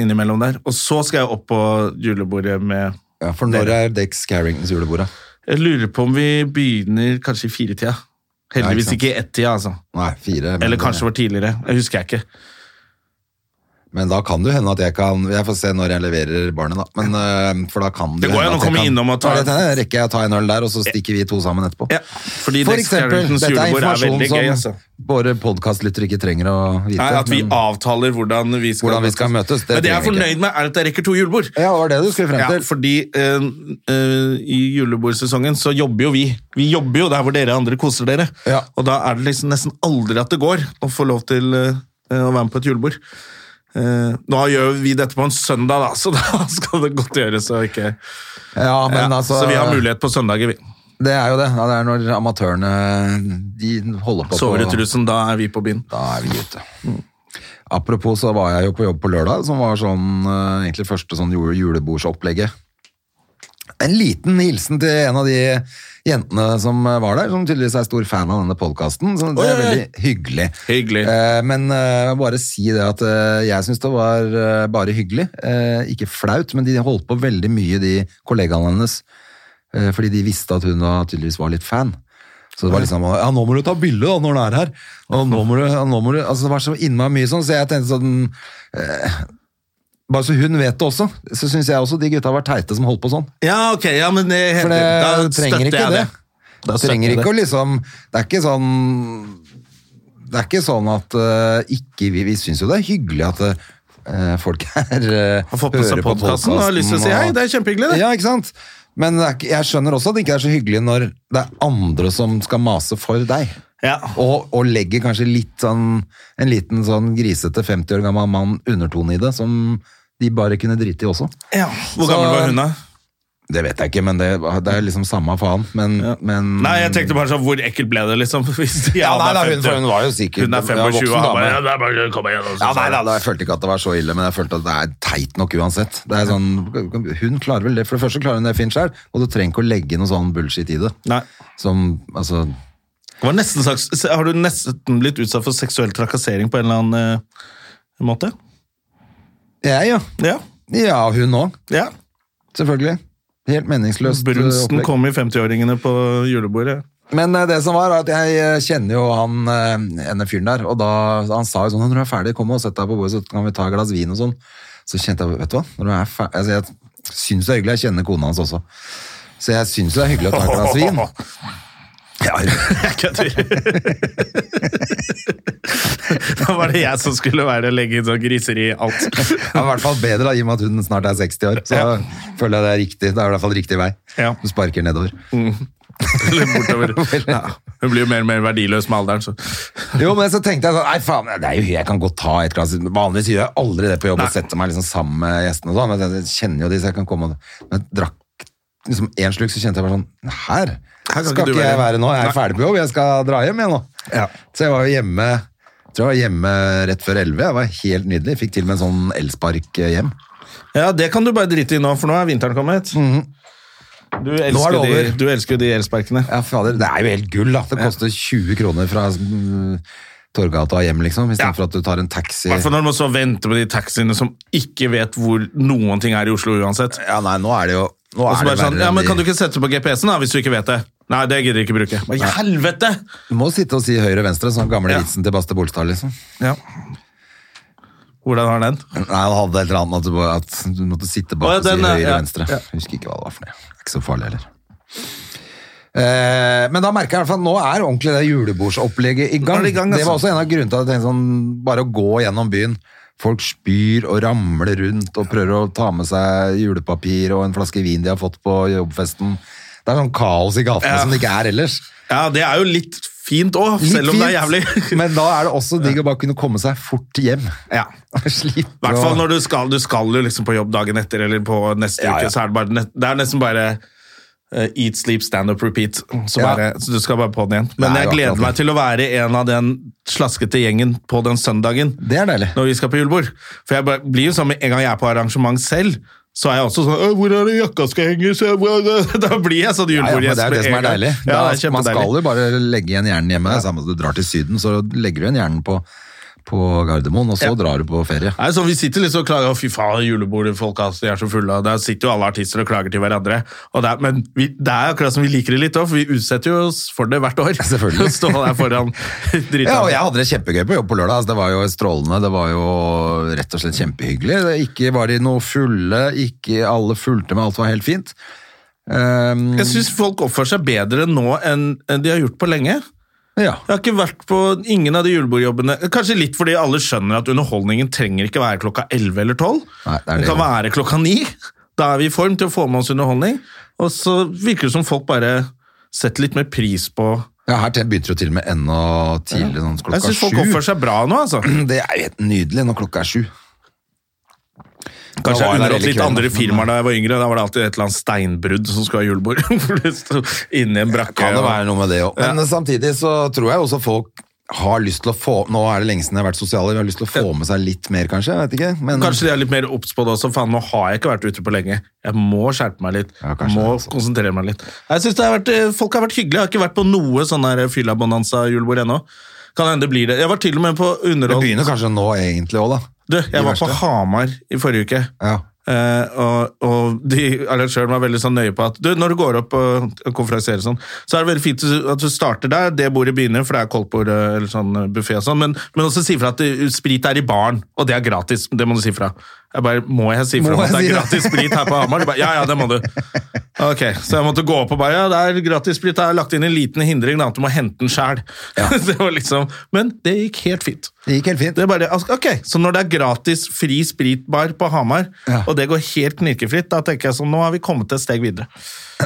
S2: innimellom der. Og så skal jeg opp på julebordet med
S1: Ja, for når er Dex Carringtons julebord, da?
S2: Jeg lurer på om vi begynner kanskje i firetida. Heldigvis
S1: Ja, ikke sant.
S2: ikke i ett-tida, altså.
S1: Nei, fire. Men,
S2: Eller kanskje det var tidligere. Jeg husker jeg ikke.
S1: Men da kan det jo hende at jeg kan Jeg får se når jeg leverer barnet, da. Men, eh, for da kan det
S2: Det går
S1: hende
S2: an å
S1: at jeg
S2: komme
S1: kan-
S2: innom og ta-
S1: Ja, det hender. rekker jeg å ta en øl der, og så stikker vi to sammen etterpå.
S2: Ja, fordi
S1: For
S2: Dex
S1: eksempel,
S2: Carringtons
S1: dette er
S2: julebord er
S1: informasjon
S2: veldig
S1: som
S2: gøy. altså.
S1: våre podkastlyttere ikke trenger å vite.
S2: Nei, At vi
S1: men-
S2: avtaler hvordan vi skal,
S1: Hvordan vi skal møtes, det
S2: Men det jeg
S1: trenger vi ikke.
S2: er fornøyd med, er at jeg rekker to julebord.
S1: Ja, det var det du skulle frem
S2: Ja,
S1: til.
S2: fordi eh, eh, i julebordsesongen så jobber jo vi. Vi jobber jo der hvor dere andre koser dere.
S1: Ja.
S2: Og da er det liksom nesten aldri at det går å få lov til eh, å være med på et julebord. Eh, nå gjør vi dette på en søndag, da, så da skal det godt gjøres å ikke
S1: Ja, men
S2: ja,
S1: altså
S2: Så vi har mulighet på søndager, vi.
S1: Det er jo det. Ja, det er når amatørene de holder på
S2: Sover i
S1: på
S2: trusen, da er vi på byen.
S1: Da er vi ute. Apropos så var jeg jo på jobb på lørdag, som var sånn, eh, egentlig første sånn jule- julebordsopplegget. En liten hilsen til en av de jentene som eh, var der, som tydeligvis er stor fan av denne podkasten. Så det
S2: Oi,
S1: er
S2: oi, oi.
S1: veldig hyggelig.
S2: Hyggelig.
S1: Eh, Men eh, bare si det at eh, jeg syns det var eh, bare hyggelig. Eh, Ikke flaut, men de holdt på veldig mye, de kollegaene hennes. Eh, Fordi de visste at hun da tydeligvis var litt fan. Så det var liksom Ja, nå må du ta bilde da, når du er her. Og nå må du, ja, nå må du Altså, det var så innmari mye sånn, så jeg tenkte sånn eh, Bare så hun vet det også, så syns jeg også de gutta var teite som holdt på sånn.
S2: Ja, ok, ja, men det,
S1: For
S2: heter-
S1: det
S2: da
S1: trenger
S2: støtter
S1: ikke
S2: jeg
S1: det.
S2: det.
S1: Da
S2: støtter
S1: trenger
S2: jeg
S1: ikke å liksom Det er ikke sånn Det er ikke sånn at eh, ikke vi Vi syns jo det er hyggelig at eh, folk her eh,
S2: Har fått med seg
S1: hører på
S2: podcasten og har lyst til å si
S1: podcasten,
S2: hei, det er kjempehyggelig, det.
S1: Ja, ikke sant? Men det er, ikke- jeg skjønner også at det ikke er så hyggelig når det er andre som skal mase for deg.
S2: Ja.
S1: Og, og legger kanskje litt sånn, en liten sånn grisete 50 år gammel mann undertone i det, som de bare kunne drite i også.
S2: Ja. Hvor
S1: Så-
S2: gammel var hun, da?
S1: Det vet jeg ikke, men det, det er liksom samme faen. Men, men
S2: Nei, jeg tenkte bare sånn, hvor ekkelt ble det, liksom? Hvis de
S1: Ja, nei,
S2: alle er
S1: nei, hun, for
S2: 50.
S1: hun var jo sikkert
S2: Hun er
S1: ja,
S2: 25 og
S1: voksen
S2: han bare, ja,
S1: dame.
S2: det er bare å komme igjen. og så-
S1: Ja, nei, nei, nei, jeg følte ikke at det var så ille, men jeg følte at det er teit nok uansett. Det er sånn, hun klarer vel det, for det første klarer hun det fint selv, og du trenger ikke å legge noe sånn bullshit i det.
S2: Nei.
S1: Som, altså,
S2: Det var nesten slags, har du nesten blitt utsatt for seksuell trakassering på en eller annen eh, måte?
S1: jeg ja.
S2: Ja.
S1: Ja, hun også,
S2: ja.
S1: selvfølgelig. Helt meningsløst eh,
S2: Brunsten
S1: opplegg.
S2: kom i 50-åringene på julebordet.
S1: Men eh, det som var, er at jeg eh, kjenner jo han eh, ene fyren der, og da han sa jo sånn, når du er ferdig, kom og sett deg på bordet, så kan vi ta et glass vin og sånn. Så kjente jeg, vet du hva, når du er ferdig, altså, jeg synes det er hyggelig, jeg kjenner kona hans også. Så jeg synes det er hyggelig å ta et glass vin. Ja,
S2: Jeg kødder. da var det jeg som skulle være legge inn sånn griseri i alt.
S1: det er i hvert fall bedre da, i og med at hun snart er 60 år, så
S2: Ja.
S1: føler jeg det er riktig, det er i hvert fall riktig vei.
S2: Ja.
S1: Du sparker nedover.
S2: Eller bortover. Ja. Hun blir jo mer og mer verdiløs med alderen, så
S1: Jo, men så tenkte jeg sånn, nei faen, det er jo, jeg kan godt ta et glass. Vanligvis gjør jeg aldri det på jobb og setter meg liksom sammen med gjestene og sånn, men jeg kjenner jo de, så jeg kan komme og... Men jeg drakk liksom en sluk, så kjente jeg bare sånn, her,
S2: Her kan
S1: skal
S2: ikke
S1: ikke
S2: du
S1: jeg
S2: være.
S1: være nå, jeg er ferdig på jobb, jeg skal dra hjem igjen nå.
S2: Ja.
S1: Så jeg var jo hjemme, jeg tror jeg var hjemme rett før 11, jeg var helt nydelig, jeg fikk til og med en sånn elspark hjem.
S2: Ja, det kan du bare drite i nå, for nå er vinteren kommet. Du
S1: Mhm. Nå er
S2: elsker
S1: det
S2: jo de,
S1: over.
S2: du elsker jo de elsparkene.
S1: Ja, fader, det er jo helt gull da, det koster 20 kroner fra mm, Torgata hjem liksom, i stedet
S2: Ja.
S1: for at du tar en taxi.
S2: I hvert fall når man så venter på de taxiene som ikke vet hvor noen ting er i Oslo uansett.
S1: Ja, nei, nå er det jo... Nå
S2: Og
S1: er
S2: så
S1: det
S2: bare sånn,
S1: verre enn
S2: ja, men
S1: de-
S2: Kan du ikke sette på GPS-en da, hvis du ikke vet det? Nei, det gidder jeg ikke bruke. Hva i helvete!
S1: Du må sitte og si høyre og venstre, sånn gamle
S2: Ja.
S1: vitsen til Baste Bolstad, liksom.
S2: Ja. Hvordan har den?
S1: Nei, han hadde et eller annet at du, at du måtte sitte bak
S2: Å, ja,
S1: og si
S2: den, ja,
S1: høyre og
S2: ja,
S1: venstre.
S2: ja.
S1: Jeg husker ikke hva det var for noe. Det er ikke så farlig heller. Eh, men da merker jeg i hvert fall at nå er ordentlig det julebordsopplegget i gang.
S2: Nå er det i gang, altså.
S1: var også en av grunnene til at jeg tenkte sånn, bare å gå gjennom byen Folk spyr og ramler rundt og prøver å ta med seg julepapir og en flaske vin de har fått på jobbfesten. Det er sånn kaos i gatene
S2: Ja.
S1: som det ikke er ellers.
S2: Ja, det er jo litt fint òg,
S1: Litt
S2: selv om det er
S1: fint,
S2: jævlig.
S1: men da er det også digg å bare kunne komme seg fort hjem.
S2: Ja.
S1: Slippe
S2: I hvert
S1: å-
S2: fall når du skal, du skal jo liksom på jobb dagen etter eller på neste
S1: Ja, ja.
S2: uke. Så er det, bare, net- det er nesten bare eh, eat, sleep, stand up, repeat. Så,
S1: Ja.
S2: bare, så du skal bare på den igjen.
S1: Det
S2: Men
S1: er
S2: jeg
S1: jo akkurat
S2: gleder meg til å være en av den slaskete gjengen på den søndagen
S1: Det er deilig.
S2: når vi skal på julebord. For jeg bare, blir jo sånn med en gang jeg er på arrangement selv. Så er jeg også sånn «Å, 'Hvor er det jakka skal henges?' Jeg- hvor- Da blir jeg sånn
S1: Ja, ja, men
S2: julebordgjest.
S1: det er jo det
S2: med
S1: som
S2: en
S1: er
S2: gang.
S1: deilig.
S2: Ja,
S1: Da-
S2: det er
S1: man skal
S2: kjempedeilig.
S1: jo bare legge igjen hjernen hjemme. Det er samme som du drar til Syden, så legger du igjen hjernen på, på Gardermoen, og så
S2: Ja.
S1: drar du på ferie.
S2: Nei, så Vi sitter liksom og klager «Å, fy faen, julebordet, folk altså, de er så fulle. og Der sitter jo alle artister og klager til hverandre. Og det er, men vi, det er akkurat som vi liker det litt òg, for vi utsetter jo oss for det hvert år.
S1: Selvfølgelig.
S2: Stå der foran drita.
S1: Ja, og jeg hadde det kjempegøy på jobb på lørdag. Altså, det var jo strålende. Det var jo rett og slett kjempehyggelig. Det, ikke var de noe fulle, ikke alle fulgte med, alt var helt fint. Ehm,
S2: Jeg syns folk oppfører seg bedre nå enn enn de har gjort på lenge.
S1: ja.
S2: Jeg har ikke vært på ingen av de julebordjobbene. Kanskje litt fordi alle skjønner at underholdningen trenger ikke være klokka 11 eller 12.
S1: Nei, det er
S2: den
S1: det.
S2: kan være klokka 9. Da er vi i form til å få med oss underholdning. Og så virker det som folk bare setter litt mer pris på
S1: ja, her til- begynte det jo til og med enda tidlig, sånn klokka
S2: Jeg syns folk oppfører
S1: sju.
S2: seg bra nå, altså.
S1: Det er jo helt nydelig når klokka er sju.
S2: Kanskje
S1: var det
S2: jeg underholdt
S1: hele
S2: litt
S1: kvelden,
S2: andre
S1: men-
S2: firmaer da jeg var yngre. Da var det alltid et eller annet steinbrudd som skulle ha julebord. For det sto Inni en brakke.
S1: Kan det
S2: og-
S1: være noe med det òg. Men samtidig så tror jeg også folk har lyst til å få Nå er det lenge siden jeg har vært sosial, de har lyst til å få med seg litt mer, kanskje. Jeg vet ikke. Men
S2: Kanskje de er litt mer obs på det også. Faen, nå har jeg ikke vært ute på lenge. Jeg må skjerpe meg litt.
S1: Ja, kanskje
S2: må
S1: det, altså.
S2: konsentrere meg litt. Jeg synes det har vært, eh, Folk har vært hyggelige. Jeg har ikke vært på noe sånn her fyllabonanza-julebord ennå. Kan hende det blir det. Jeg var til og med på
S1: det
S2: underhold...
S1: begynner kanskje nå egentlig òg, da.
S2: Du, jeg
S1: de
S2: var på
S1: verste.
S2: Hamar i forrige uke.
S1: Ja.
S2: Eh, og, og de arrangøren var veldig sånn nøye på at du, når du går opp og konferansierer sånn, så er det veldig fint at du starter der, det bordet begynner, for det er koldtbord eh, eller sånn buffé og sånn, men, men også si fra at det, sprit er i baren, og det er gratis, det må du si fra. Jeg bare, må jeg si fra
S1: Må
S2: om at det
S1: jeg
S2: er
S1: si
S2: gratis
S1: det?
S2: sprit her på Hamar? De Bare, ja, ja, det må du. Ok, så jeg måtte gå opp og bare, ja, det er gratis sprit, det er lagt inn en liten hindring, da, at du må hente den selv. det var liksom, men det gikk helt fint.
S1: Det gikk helt fint.
S2: Det er bare, ok, Så når det er gratis fri spritbar på Hamar,
S1: Ja.
S2: og det går helt knirkefritt, da tenker jeg sånn, nå har vi kommet et steg videre.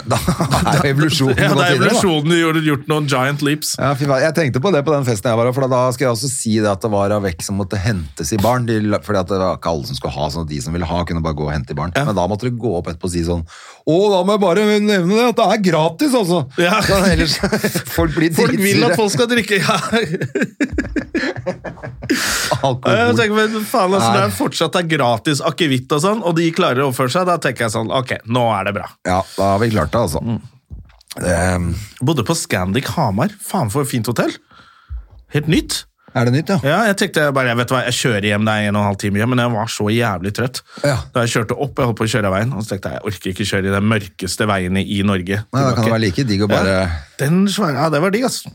S1: Da er jo evolusjonen
S2: Ja,
S1: gått
S2: det er
S1: videre, da.
S2: evolusjonen du gjorde, gjort noen giant leaps.
S1: Ja, fy faen. Jeg tenkte på det på den festen jeg var på, for da skal jeg også si det at det var Avec som måtte hentes i baren. De, la- fordi at det var ikke alle som skulle ha, sånn at de som ville ha, kunne bare gå og hente i baren. Men da måtte du gå opp etterpå og si sånn Å, da må jeg bare nevne det, at det er gratis, altså!
S2: Ja.
S1: Så ellers Folk blir
S2: Folk vil at
S1: dritsure.
S2: folk skal drikke, ja. Jeg
S1: Alkohol.
S2: tenker, men faen, altså,
S1: Nei.
S2: det er fortsatt det er gratis akevitt og sånn, og de klarer å oppføre seg, da tenker jeg sånn, ok, nå er det bra.
S1: Ja, da har vi klart det, altså.
S2: Mm.
S1: Ehm, Det,
S2: Bodde på Scandic Hamar, faen for et fint hotell. Helt nytt.
S1: er det nytt, ja?
S2: Ja, jeg tenkte bare, jeg vet hva, jeg kjører hjem, det er en og en halv time hjem, men jeg var så jævlig trøtt.
S1: Ja.
S2: Da jeg kjørte opp, jeg holdt på å kjøre av veien, og så tenkte jeg, jeg orker ikke kjøre i de mørkeste veiene i Norge.
S1: Nei, da kan det være like digg å bare
S2: Den svære, ja, det var digg, altså.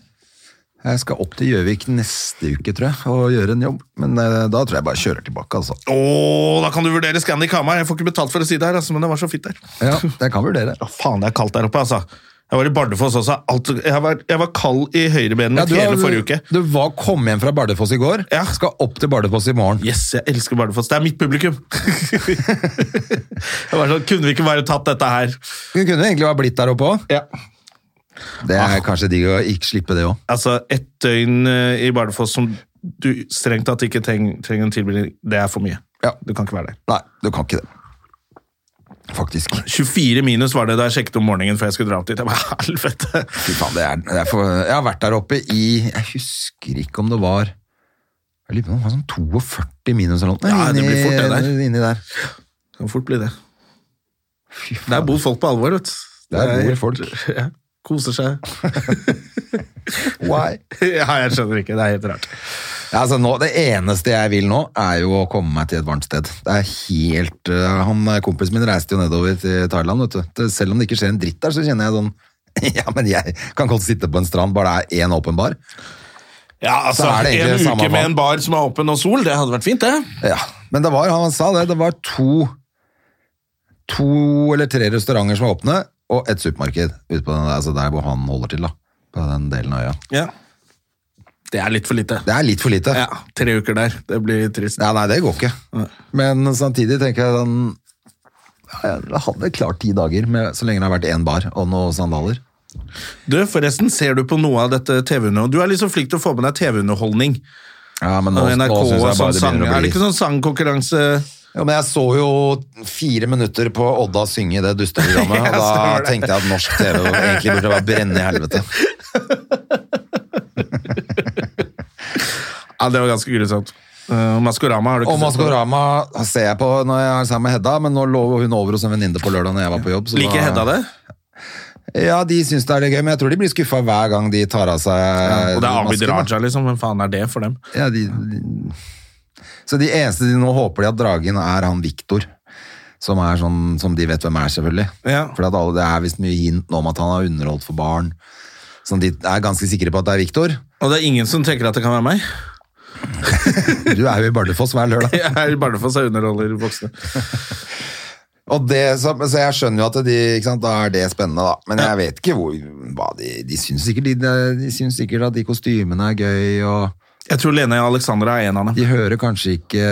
S1: Jeg skal opp til Gjøvik neste uke, tror jeg, og gjøre en jobb. Men eh, da tror jeg bare kjører tilbake, altså.
S2: Åh, da kan du vurdere Scandic Hamar, jeg får ikke betalt for å si det her, altså, men det var så fint der.
S1: Ja, jeg kan vurdere.
S2: Å, faen, det er kaldt der oppe, altså. Jeg var i Bardufoss også, alt, jeg, var, jeg var kald i
S1: Ja,
S2: høyrebenet mitt hele forrige uke.
S1: Du var, kom hjem fra Bardufoss i går,
S2: Ja.
S1: skal opp til Bardufoss i morgen.
S2: Yes, jeg elsker Bardufoss, det er mitt publikum. jeg var sånn, kunne vi ikke bare tatt dette her?
S1: Du kunne jo egentlig ha blitt der oppe òg.
S2: Ja. Ah.
S1: Det er kanskje digg å ikke slippe det òg.
S2: Altså, ett døgn eh, i Bardufoss som du strengt tatt ikke treng, trenger en tilbringing, det er for mye.
S1: Ja.
S2: Du kan ikke være der.
S1: Nei, du kan ikke det. Faktisk.
S2: 24 minus var det da jeg sjekket om morgenen før jeg skulle dra opp dit. Jeg bare, helvete!
S1: Fy faen, det er, det er for, jeg har vært der oppe i Jeg husker ikke om det var Jeg lurer på om det var sånn 42 minus eller noe.
S2: Ja, det blir fort det der.
S1: inni, inni der.
S2: Det kan fort bli det.
S1: Fy faen.
S2: Der bor folk på alvor, vet du.
S1: Der
S2: Det er-
S1: bor folk.
S2: Ja, koser seg.
S1: Why?
S2: ja, jeg skjønner ikke. Det er helt rart.
S1: Ja, Altså nå, det eneste jeg vil nå, er jo å komme meg til et varmt sted. Det er helt eh, han, eh, Kompisen min reiste jo nedover til Thailand. Vet du. Det- Selv om det ikke skjer en dritt der, så kjenner jeg sånn Ja, men jeg kan godt sitte på en strand, bare det er én åpen bar.
S2: Ja,
S1: Så
S2: altså,
S1: er det egentlig
S2: En
S1: det
S2: uke
S1: samme
S2: med
S1: faen.
S2: en bar som er åpen og sol, det hadde vært fint, det.
S1: Ja, Men det var, han sa det, det var to To eller tre restauranter som var åpne, og et supermarked ute på den, altså der hvor han holder til, da. På den delen av øya.
S2: Ja. Det er litt for lite.
S1: Det er litt for lite.
S2: Ja, Tre uker der. Det blir trist.
S1: Ja, nei, det går ikke. Men samtidig tenker jeg sånn ja, Jeg hadde klart ti dager med, så lenge det har vært én bar og noen sandaler.
S2: Du, forresten, ser du på noe av dette TV-underholdning? Du er liksom flink til å få med deg TV-underholdning.
S1: Ja, men nå,
S2: Og NRK
S1: nå synes
S2: og
S1: jeg
S2: sånn
S1: bare det
S2: sang.
S1: begynner å
S2: Er det
S1: bli
S2: ikke sånn sangkonkurranse?
S1: Jo, men jeg så jo fire minutter på Odda synge det dusteprogrammet, og da tenkte jeg at norsk TV egentlig burde bare brenne i helvete.
S2: Ja, det var ganske grusomt. Eh, Maskorama har du ikke
S1: Og
S2: sett på?
S1: Maskorama ser jeg på når jeg er sammen med Hedda, men nå lå hun over hos en venninne på lørdag når jeg var på jobb. så da-
S2: Liker Hedda det?
S1: Ja, de syns det er litt gøy, men jeg tror de blir skuffa hver gang de tar av seg
S2: Og det er Abid
S1: masken, da.
S2: Raja, liksom. Hvem faen er det for dem?
S1: Ja, de, de... Så de eneste de nå håper de at dragen er han Viktor. Som, er sånn, som de vet hvem er, selvfølgelig.
S2: Ja.
S1: For at alle, det er visst mye hint nå om at han har underholdt for barn. Som de er ganske sikre på at det er Viktor.
S2: Og det er ingen som tenker at det kan være meg.
S1: Du er jo i Bardufoss hver lørdag.
S2: Jeg er i Bardufoss og underholder voksne.
S1: Og det, så, så jeg skjønner jo at de, ikke sant, da er det spennende, da. Men jeg vet ikke hvor, hva de De syns sikkert, de, de syns sikkert at de kostymene er gøy, og
S2: Jeg tror Lene Alexandra er en av dem.
S1: de hører kanskje ikke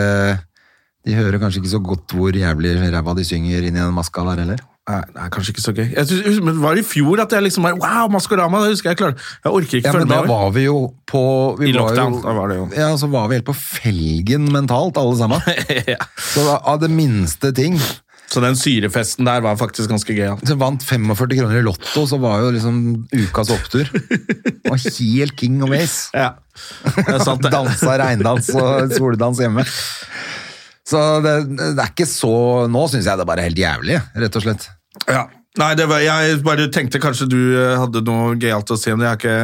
S1: de hører kanskje ikke så godt hvor jævlig ræva de synger inn i den maska der heller.
S2: Nei, det er kanskje ikke så gøy. Jeg synes, men det var i fjor at jeg liksom bare, Wow, Maskorama! Det husker jeg klarte. Jeg orker ikke
S1: Ja, men
S2: følge
S1: da
S2: med. over.
S1: var vi jo på vi
S2: I
S1: var
S2: lockdown,
S1: jo,
S2: da var det jo.
S1: Ja, så var vi helt på felgen mentalt, alle sammen.
S2: Ja.
S1: Så da, av det minste ting.
S2: Så den syrefesten der var faktisk ganske gøy. ja.
S1: Så vant 45 kroner i lotto, så var jo liksom ukas opptur. Og helt king of ace.
S2: Ja. Det er sant, det.
S1: Dansa regndans og soledans hjemme. Så det, det er ikke så Nå syns jeg det er bare helt jævlig, rett og slett.
S2: Ja. Nei, det var, jeg bare tenkte kanskje du eh, hadde noe gøyalt å si. Men jeg har ikke,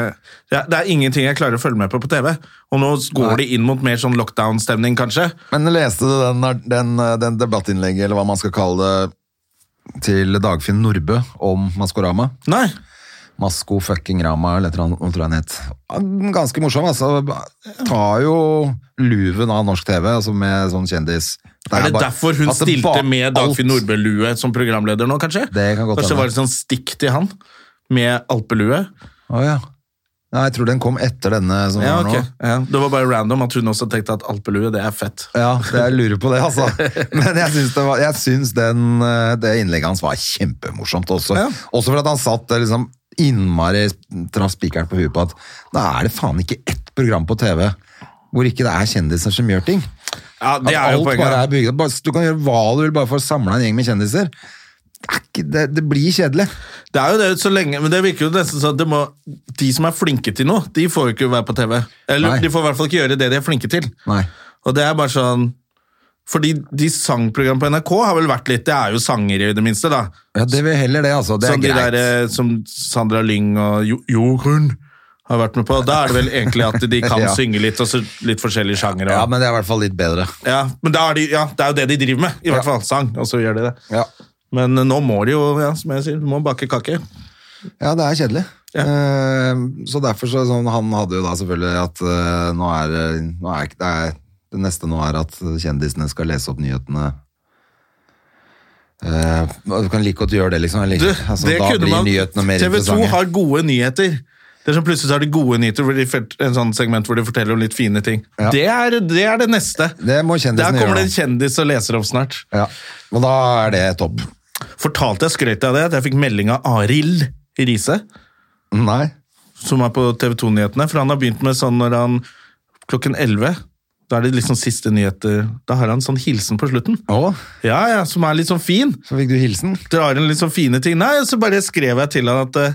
S2: det, er, det er ingenting jeg klarer å følge med på på TV. Og nå går
S1: Nei.
S2: det inn mot mer sånn lockdown-stemning, kanskje.
S1: Men leste du den, den, den debattinnlegget, eller hva man skal kalle det, til Dagfinn Nordbø om Maskorama?
S2: Nei.
S1: Masko fucking Rama, eller et eller annet, tror jeg han het. Ja, Ganske morsom, altså. Tar jo luven av norsk TV, altså med sånn kjendis.
S2: Er det
S1: bare-
S2: derfor hun
S1: at det
S2: stilte
S1: ba-
S2: med Dagfinn
S1: alt-
S2: Nordbø-lue som programleder nå, kanskje?
S1: Det kan godt
S2: kanskje
S1: hende.
S2: det var et sånn stikk til han med alpelue?
S1: Å ja. Nei, jeg tror den kom etter denne som
S2: Ja,
S1: var nå.
S2: ok. Ja. Det var bare random at hun også tenkte at alpelue, det er fett.
S1: Ja, det, jeg lurer på det, altså. Men jeg syns, det var, jeg syns den, eh, det innlegget hans var kjempemorsomt også.
S2: Ja.
S1: Også for at han satt eh, liksom innmari traff spikeren på huet på at da er det faen ikke ett program på TV hvor ikke det er kjendiser som gjør ting.
S2: Ja,
S1: At
S2: det er jo
S1: alt
S2: poenget.
S1: bare er bygget opp. Bare- Du kan gjøre hva du vil bare for å samle en gjeng med kjendiser. Det, er ikke, det, det blir kjedelig.
S2: Det er jo det så lenge, men det virker jo nesten sånn at det må, de som er flinke til noe, de får jo ikke være på TV. Eller
S1: Nei.
S2: de får i hvert fall ikke gjøre det de er flinke til.
S1: Nei.
S2: Og det er bare sånn Fordi de sangprogram på NRK har vel vært litt Det er jo sanger, i det minste, da.
S1: Ja, det vil heller det, altså. Det er
S2: som de
S1: greit.
S2: der eh, som Sandra Lyng og Jo- Jorunn har vært med på. Da er det vel egentlig at de kan
S1: Ja.
S2: synge litt, og så litt forskjellige sjangere.
S1: ja,
S2: og-
S1: men det er i hvert fall litt bedre.
S2: Ja, men da er de, ja, det er jo det de driver med, i hvert
S1: Ja.
S2: fall. Sang, og så gjør de det.
S1: Ja.
S2: Men eh, nå må de jo, ja, som jeg sier, de må bake kake.
S1: Ja, det er kjedelig.
S2: Ja.
S1: Eh, så derfor så sånn, Han hadde jo da selvfølgelig at eh, nå er, det- nå er ikke- det er Det neste nå er at kjendisene skal lese opp nyhetene. Eh, du kan like godt gjøre det, liksom. Eller,
S2: Du,
S1: altså,
S2: det
S1: da
S2: kunne
S1: blir
S2: man-
S1: nyhetene mer
S2: TV 2
S1: interessante.
S2: har gode nyheter. Det er sånn Plutselig så har de gode nyheter, hvor de felt, en sånn segment hvor de forteller om litt fine ting.
S1: Ja.
S2: Det, er, det er det neste.
S1: Det må kjendisene
S2: Der kommer
S1: gjøre
S2: det en kjendis og leser opp snart.
S1: Ja. Og da er det topp.
S2: Fortalte jeg skrøt av det, at jeg fikk melding av Arild Riise,
S1: Nei.
S2: som er på TV 2-nyhetene. For han har begynt med sånn når han Klokken 11. Da er det liksom siste nyheter. Da har han sånn hilsen på slutten.
S1: Å,
S2: Ja, ja, Som er litt sånn fin.
S1: så fikk du hilsen.
S2: drar inn litt sånn fine ting. Nei, så bare skrev jeg til han at eh,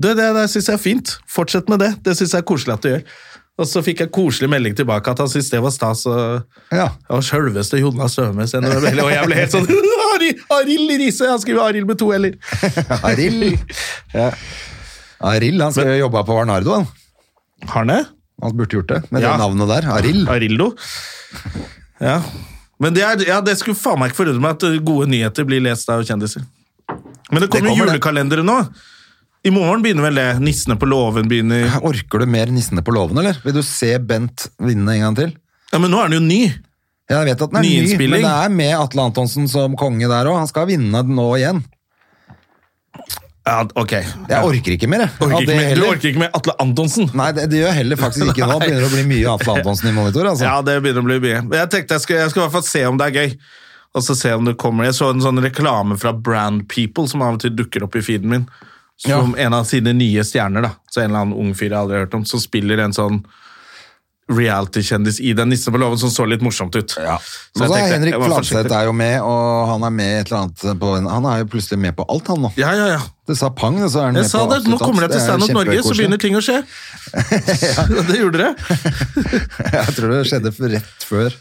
S2: det, det der syns jeg er fint. Fortsett med det. Det syns jeg er koselig at du gjør. Og så fikk jeg koselig melding tilbake at han syntes det var stas. Og,
S1: Ja.
S2: og sjølveste Jonas Stømes. Og jeg ble helt sånn Ari- Arild Riise! Han skriver Arild med to l-er.
S1: Arild. Ja. Arild, han skal jo jobbe på Varnardo, han.
S2: Har han det?
S1: Han burde gjort det, med
S2: Ja.
S1: det navnet der. Arild.
S2: Arildo? Ja. Men det, er, ja, det skulle faen meg ikke forundre meg at eh, gode nyheter blir lest av kjendiser. Men
S1: Det
S2: det kommer,
S1: kommer det.
S2: julekalendere nå. I morgen begynner vel det. Nissene på låven begynner.
S1: Orker du mer Nissene på låven, eller? Vil du se Bent vinne en gang til?
S2: Ja, Men nå er den jo ny.
S1: Ja, Jeg vet at den er ny, men
S2: Nyinnspilling.
S1: det er med Atle Antonsen som konge der òg. Han skal vinne den nå igjen.
S2: Ja, ok.
S1: Jeg orker ikke mer, jeg.
S2: Orker
S1: Av
S2: ikke
S1: det
S2: med, du
S1: heller.
S2: orker ikke med Atle Antonsen?
S1: Nei, det, det gjør jeg heller faktisk ikke nå. Det begynner å bli mye Atle Antonsen i monitor. altså.
S2: Ja, det begynner å bli mye. Men Jeg tenkte jeg skal, jeg skal i hvert fall se om det er gøy. Og så se om det kommer. Jeg så en sånn reklame fra Brand People som av og til dukker opp i feeden min. Som en av sine nye stjerner. da. Så En eller annen ung fyr jeg aldri har hørt om, som spiller en sånn reality-kjendis i den nissen på låven som så litt morsomt ut. Så
S1: Men
S2: jeg
S1: så er
S2: tenkte,
S1: Henrik
S2: jeg må forsiktig.
S1: Fladseth er jo med, og han er med i et eller annet på en, Han er jo plutselig med på alt, han nå.
S2: Ja, ja, ja.
S1: Det sa pang, og så er han
S2: Jeg
S1: med
S2: sa
S1: på
S2: det,
S1: absolutt
S2: Nå
S1: alt.
S2: kommer dere til
S1: Det er
S2: Stand Up Norge,
S1: kjempekoselig.
S2: så begynner ting å skje. Det gjorde dere.
S1: Jeg tror det skjedde for- rett før.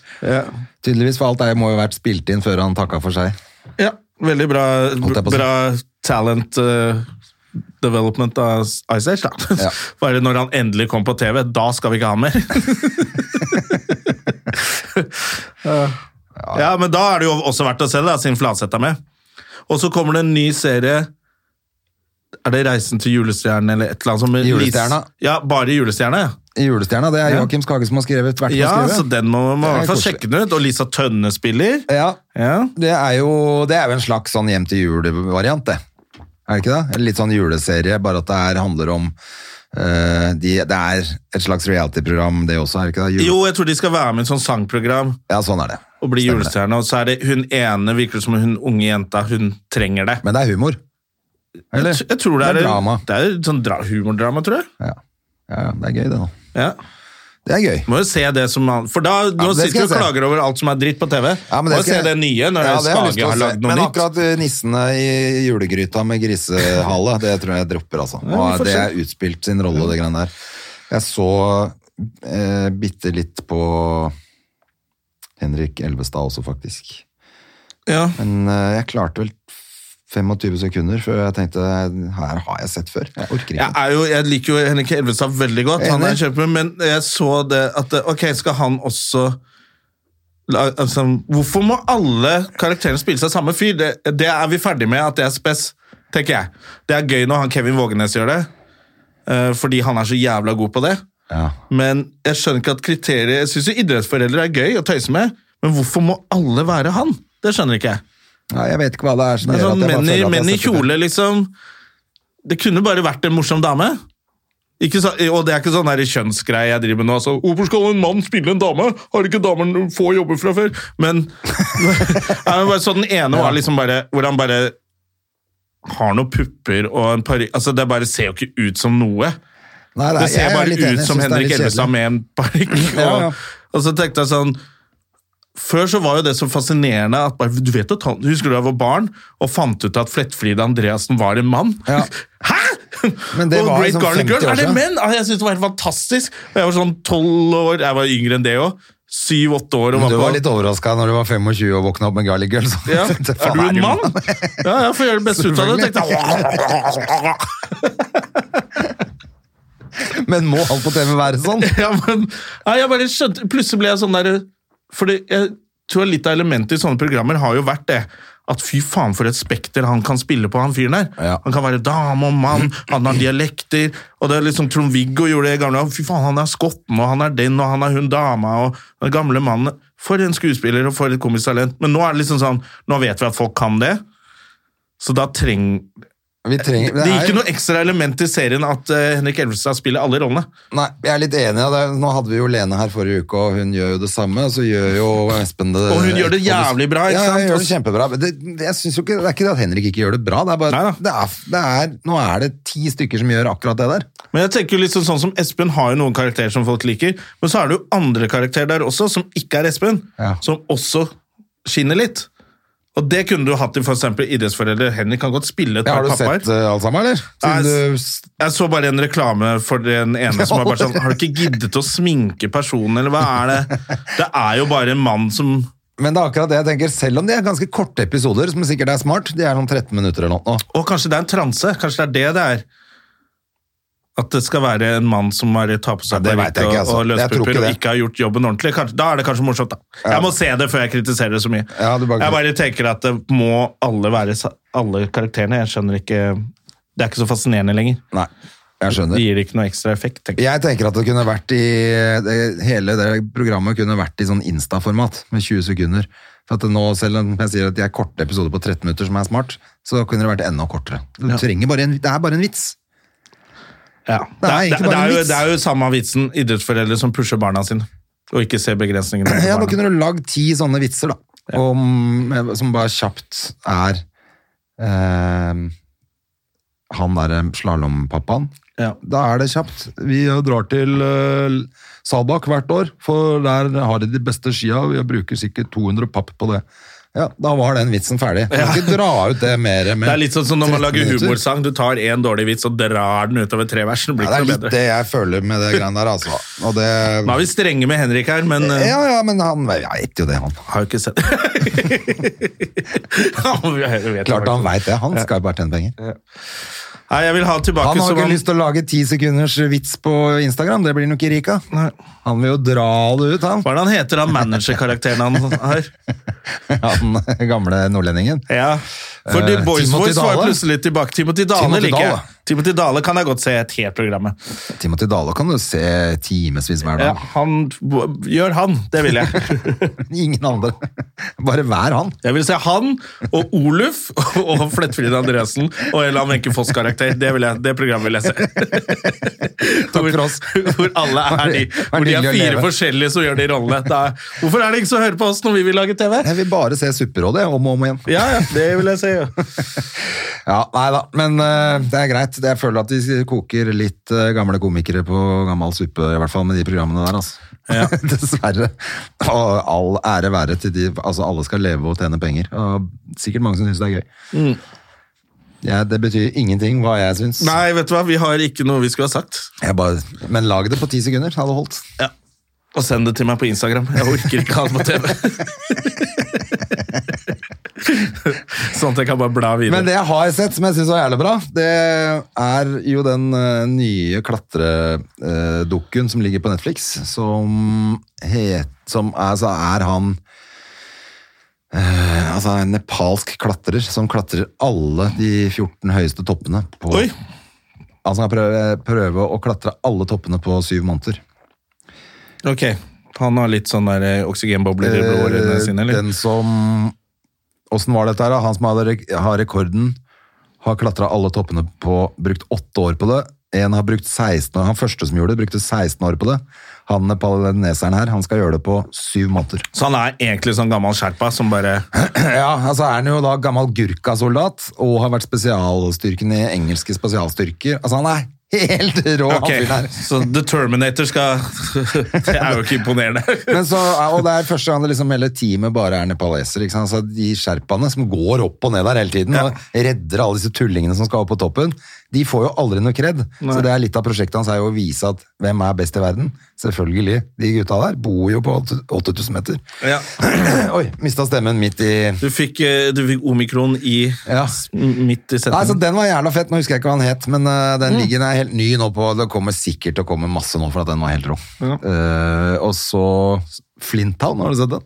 S1: Tydeligvis, for alt det må jo ha vært spilt inn før han takka for seg.
S2: Ja, Veldig bra,
S1: Holdt jeg på å si.
S2: bra talent eh, development av Ice Age, da.
S1: Ja.
S2: Bare når han endelig kom på TV, da skal vi ikke ha mer. ja, men da er det jo også verdt å se det, da, siden Fladseth er med. Og så kommer det en ny serie Er det 'Reisen til julestjernen' eller et eller annet? sånt med Lise-
S1: Julestjerna.
S2: Ja, bare 'Julestjerne'? ja.
S1: Julestjerna, det er
S2: Ja.
S1: Joakim Skage som har skrevet hvert
S2: Ja,
S1: han har
S2: så
S1: skrevet.
S2: den må man i
S1: Det er
S2: hvert fall
S1: koselig.
S2: sjekke den ut. Og Lisa Tønne spiller.
S1: Ja,
S2: Ja.
S1: det er jo, det er jo en slags sånn hjem til jul-variant, det. Er det ikke det? Eller Litt sånn juleserie, bare at det her handler om eh, de, Det er et slags reality-program, det også, er det ikke det? Jul-
S2: Jo, jeg tror de skal være med i et sånt sangprogram
S1: Ja, sånn er det.
S2: og bli
S1: Stemmer det.
S2: julestjerne. Og så er det hun ene, virker det som hun unge jenta, hun trenger det.
S1: Men det er humor. Eller?
S2: Jeg, jeg tror det er,
S1: det er drama.
S2: Det er sånn dra humordrama, tror jeg.
S1: Ja. ja, ja, det er gøy, det nå.
S2: Ja.
S1: Det er gøy.
S2: Må jo se det som man For da nå
S1: det skal
S2: sitter du og
S1: jeg se.
S2: klager over alt som er dritt på TV.
S1: Ja, men
S2: Må
S1: det
S2: jo
S1: skal
S2: se
S1: jeg-
S2: det nye når
S1: Ja, det har jeg lyst til å
S2: Skage har
S1: se.
S2: lagd noe
S1: Men
S2: nytt.
S1: akkurat eh, nissene i julegryta med grisehale, det tror jeg jeg dropper, altså.
S2: Ja, vi får
S1: Og det
S2: se.
S1: er utspilt sin rolle, det greiene der. Jeg så eh, bitte litt på Henrik Elvestad også, faktisk.
S2: Ja.
S1: Men eh, jeg klarte vel 25 sekunder før jeg tenkte her har jeg sett før. Jeg orker
S2: Jeg,
S1: ikke.
S2: er jo, jeg liker jo Henrik Elvestad veldig godt, han er
S1: Enig.
S2: kjempe, men jeg så det at det- Ok, skal han også la- altså, Hvorfor må alle karakterene spille seg samme fyr? Det, det er vi ferdig med, at det er spes, tenker jeg. Det er gøy når han Kevin Vågenes gjør det, eh, fordi han er så jævla god på det.
S1: Ja.
S2: Men jeg skjønner ikke at kriteriet Jeg syns jo idrettsforeldre er gøy å tøyse med, men hvorfor må alle være han? Det skjønner ikke jeg.
S1: Nei, jeg vet ikke hva det er som
S2: Det er
S1: gjør
S2: sånn
S1: at jeg bare
S2: menn i,
S1: føler at jeg har
S2: menn i
S1: sett det før.
S2: kjole, liksom. Det kunne bare vært en morsom dame. Ikke så, og det er ikke sånn der kjønnsgreie jeg driver med nå. Altså, Hvorfor skal en mann spille en dame? Har ikke damer få jobber fra før? Men, Nei, men bare, så den ene var liksom bare Hvor han bare har noen pupper og en parykk altså, Det bare ser jo ikke ut som noe.
S1: Nei, nei, jeg
S2: Det ser
S1: er
S2: bare
S1: litt enig.
S2: ut
S1: Jeg
S2: som
S1: synes det er
S2: Henrik
S1: litt
S2: Elvestad
S1: kjedelig.
S2: med en parykk. Og,
S1: Ja, ja.
S2: og så tenkte jeg sånn Før så var jo det så fascinerende at bare, du vet at han, Husker du da jeg var barn og fant ut at Flettfride Andreassen var en mann?
S1: Ja.
S2: Hæ?!
S1: Men det
S2: og
S1: var
S2: Great
S1: liksom
S2: Garlic Girl,
S1: 50 år
S2: er det
S1: siden.
S2: menn?! Ah, Jeg syntes det var helt fantastisk. Og jeg var sånn tolv år, jeg var yngre enn det òg. Syv-åtte år.
S1: Du
S2: Og var
S1: var
S2: på-
S1: litt overraska når du var 25 og våkna opp med Garlic Girl. så
S2: ja.
S1: tenkte jeg,
S2: Er
S1: faen,
S2: du en mann? Ja, jeg får gjøre det beste ut av det. tenkte jeg.
S1: Men må alt på TV være sånn?
S2: ja, men, nei, jeg bare skjønte, plutselig ble jeg sånn der, fordi jeg tror litt av elementet i sånne programmer har jo vært det, at fy faen for et spekter han kan spille på, han fyren der.
S1: Ja.
S2: Han kan være dame og mann, han har dialekter, og det er liksom Trond-Viggo gjorde det i gamle, dager, fy faen han er skotten, og han er den, og han er hun dama, og den gamle mannen. For en skuespiller, og for et komisk talent. Men nå er det liksom sånn, nå vet vi at folk kan det, så da trenger...
S1: Vi trenger,
S2: Det
S1: er-
S2: gir ikke noe ekstra element i serien at eh, Henrik Elvestad spiller alle rollene.
S1: Nei, jeg er litt enig. ja, Det er, nå hadde vi jo Lene her forrige uke, og hun gjør jo det samme. og Så gjør jo Espen det
S2: Og hun gjør det jævlig bra, ikke
S1: ja,
S2: sant?
S1: Ja, hun gjør det kjempebra. Men Det, det, jeg synes jo ikke, det er ikke det at Henrik ikke gjør det bra. Det er bare,
S2: Neida.
S1: det er, det er, nå er det ti stykker som gjør akkurat det der.
S2: Men jeg tenker jo liksom sånn som Espen har jo noen karakterer som folk liker, men så er det jo andre karakterer der også, som ikke er Espen,
S1: Ja.
S2: som også skinner litt. Og det kunne du hatt i for eksempel idrettsforeldre. Henrik kan godt spille et
S1: Ja, har
S2: par
S1: du
S2: pappaer.
S1: sett eh, alt sammen, eller?
S2: Nei,
S1: Siden du,
S2: Jeg så bare en reklame for den ene som var bare sånn Har du ikke giddet å sminke personen, eller hva er det? Det er jo bare en mann som
S1: men det er akkurat det jeg tenker. Selv om de er ganske korte episoder, som sikkert er smart, de er sånn 13 minutter eller noe.
S2: Å, kanskje det er en transe? Kanskje det er det det er? At det skal være en mann som bare tar på seg
S1: Ja, det vet
S2: parykk
S1: jeg
S2: og,
S1: ikke, altså.
S2: og
S1: Jeg tror ikke
S2: løspupper og
S1: det.
S2: ikke har gjort jobben ordentlig. Kanskje, da er det kanskje morsomt, da. Jeg må se det før jeg kritiserer det så mye.
S1: Ja, du bare-
S2: jeg bare tenker at det må alle være sa- alle karakterene. Jeg skjønner ikke Det er ikke så fascinerende lenger.
S1: Nei. Jeg
S2: Det
S1: skjønner.
S2: gir ikke noe ekstra effekt, tenker jeg.
S1: Jeg tenker at det kunne vært i det, Hele det programmet kunne vært i sånn Insta-format med 20 sekunder. For at nå, selv om jeg sier at de er korte episoder på 13 minutter som er smart, så kunne det vært enda kortere. Du trenger bare en, det er bare en vits.
S2: Ja. Det,
S1: Det er
S2: er, det,
S1: egentlig bare
S2: er
S1: en
S2: jo,
S1: vits.
S2: det er jo samme vitsen idrettsforeldre som pusher barna sine, og ikke ser begrensningene. på
S1: Ja, nå
S2: barna.
S1: kunne du lagd ti sånne vitser, da. Om, eh, som bare kjapt er eh, Han derre slalåmpappaen.
S2: Ja.
S1: Da er det kjapt. Vi drar til eh, Salbakk hvert år, for der har de de beste skia. og Vi bruker sikkert 200 papp på det. Ja, Da var den vitsen ferdig. Du kan ikke dra ut det mer. Med
S2: Det er litt sånn som når man
S1: 13
S2: lager
S1: minutter.
S2: humorsang. Du tar én dårlig vits og drar den utover tre vers. Det blir
S1: Ja, det
S2: ikke
S1: er
S2: noe
S1: litt eh,
S2: bedre.
S1: det jeg føler med det greiene der, altså. Og det,
S2: Nå er vi strenge med Henrik her, men eh,
S1: ja, ja, men han Jeg vet jo det, han.
S2: har jo ikke sett
S1: Klart
S2: Klart
S1: han veit det. Han skal jo bare tjene penger.
S2: Nei, jeg vil ha tilbake
S1: Han har
S2: som
S1: ikke lyst til å lage ti sekunders vits på Instagram, det blir nok ikke rik av.
S2: Nei.
S1: Han vil jo dra det ut, han.
S2: Hva er det han heter, han managerkarakteren han har?
S1: Han gamle nordlendingen.
S2: Ja. For The
S1: Eh,
S2: Boys
S1: Timothy
S2: Boys var
S1: Dale?
S2: jo plutselig tilbake. Timothy Dale
S1: Timothy
S2: liker jeg.
S1: Dale.
S2: Timothy Dale kan jeg godt se et helt programmet.
S1: Timothy Dale kan du se timevis hver
S2: Ja,
S1: dag.
S2: han, gjør han, det vil jeg.
S1: Ingen andre. Bare vær han.
S2: Jeg vil se han og Oluf og Flettfrid Andreassen og en eller annen Wenche Foss-karakter. Det, vil jeg- det programmet vil jeg se.
S1: Takk for oss.
S2: Hvor alle er de. Hvor de er fire forskjellige som gjør de rollene. Da, hvorfor er det ingen som hører på oss når vi vil lage TV?
S1: Jeg vil bare se Supperådet om og om igjen.
S2: Ja, ja, det vil jeg si. Ja.
S1: Ja, nei da, men eh, det er greit. Jeg føler at de koker litt eh, gamle komikere på gammel suppe, i hvert fall med de programmene der, altså. Dessverre. Og all ære være til de Altså, alle skal leve og tjene penger. Og sikkert mange som syns det er gøy. Ja, det betyr ingenting hva jeg syns.
S2: Mm. Nei, vet du hva, vi har ikke noe vi skulle ha sagt.
S1: Jeg bare, men lag det på ti sekunder. Hadde holdt.
S2: Ja. Og send det til meg på Instagram. Jeg orker ikke ha det på TV. sånn at jeg kan bare bla videre.
S1: Men det jeg har sett som jeg syns var jævlig bra, det er jo den eh, nye klatredukken som ligger på Netflix, som het Som er, så er han eh, Altså en nepalsk klatrer som klatrer alle de 14 høyeste toppene på
S2: Oi,
S1: Altså han prøve, prøve å klatre alle toppene på syv måneder.
S2: ok. Han har litt sånn der eh, oksygenbobler i blodårene sine,
S1: Eh,
S2: eller?
S1: Den som Åssen var dette her, da? Han som hadde, rek- har rekorden, har klatra alle toppene på Brukt åtte år på det. En har brukt 16 år, Han første som gjorde det, brukte 16 år på det. Han nepaleneseren her, han skal gjøre det på syv måneder.
S2: Så han er egentlig sånn gammel sherpa som bare
S1: Ja, altså er han jo da gammel Gurkha-soldat og har vært spesialstyrken i engelske spesialstyrker. Altså han er helt rå,
S2: Ok,
S1: han fyren her.
S2: så The Terminator skal Det er jo ikke imponerende.
S1: Men så, og det er første gang det liksom hele teamet bare er nepaleser. Ikke sant? Så de sherpaene som går opp og ned der hele tiden og redder alle disse tullingene som skal opp på toppen, de får jo aldri noe kred. Så det er litt av prosjektet hans er jo å vise at hvem er best i verden. Selvfølgelig. De gutta der bor jo på 8000 meter.
S2: Ja.
S1: Oi, mista stemmen midt i
S2: Du fikk, eh, du fikk omikron i
S1: Ja. Altså- Nei,
S2: midt i
S1: så
S2: setningen.
S1: Den var jævla fett, nå husker jeg ikke hva han het, men eh, den ligger den er helt ny nå på Det kommer sikkert til å komme masse nå, for at den var helt rå. Eh, og så Flintown, har du sett den?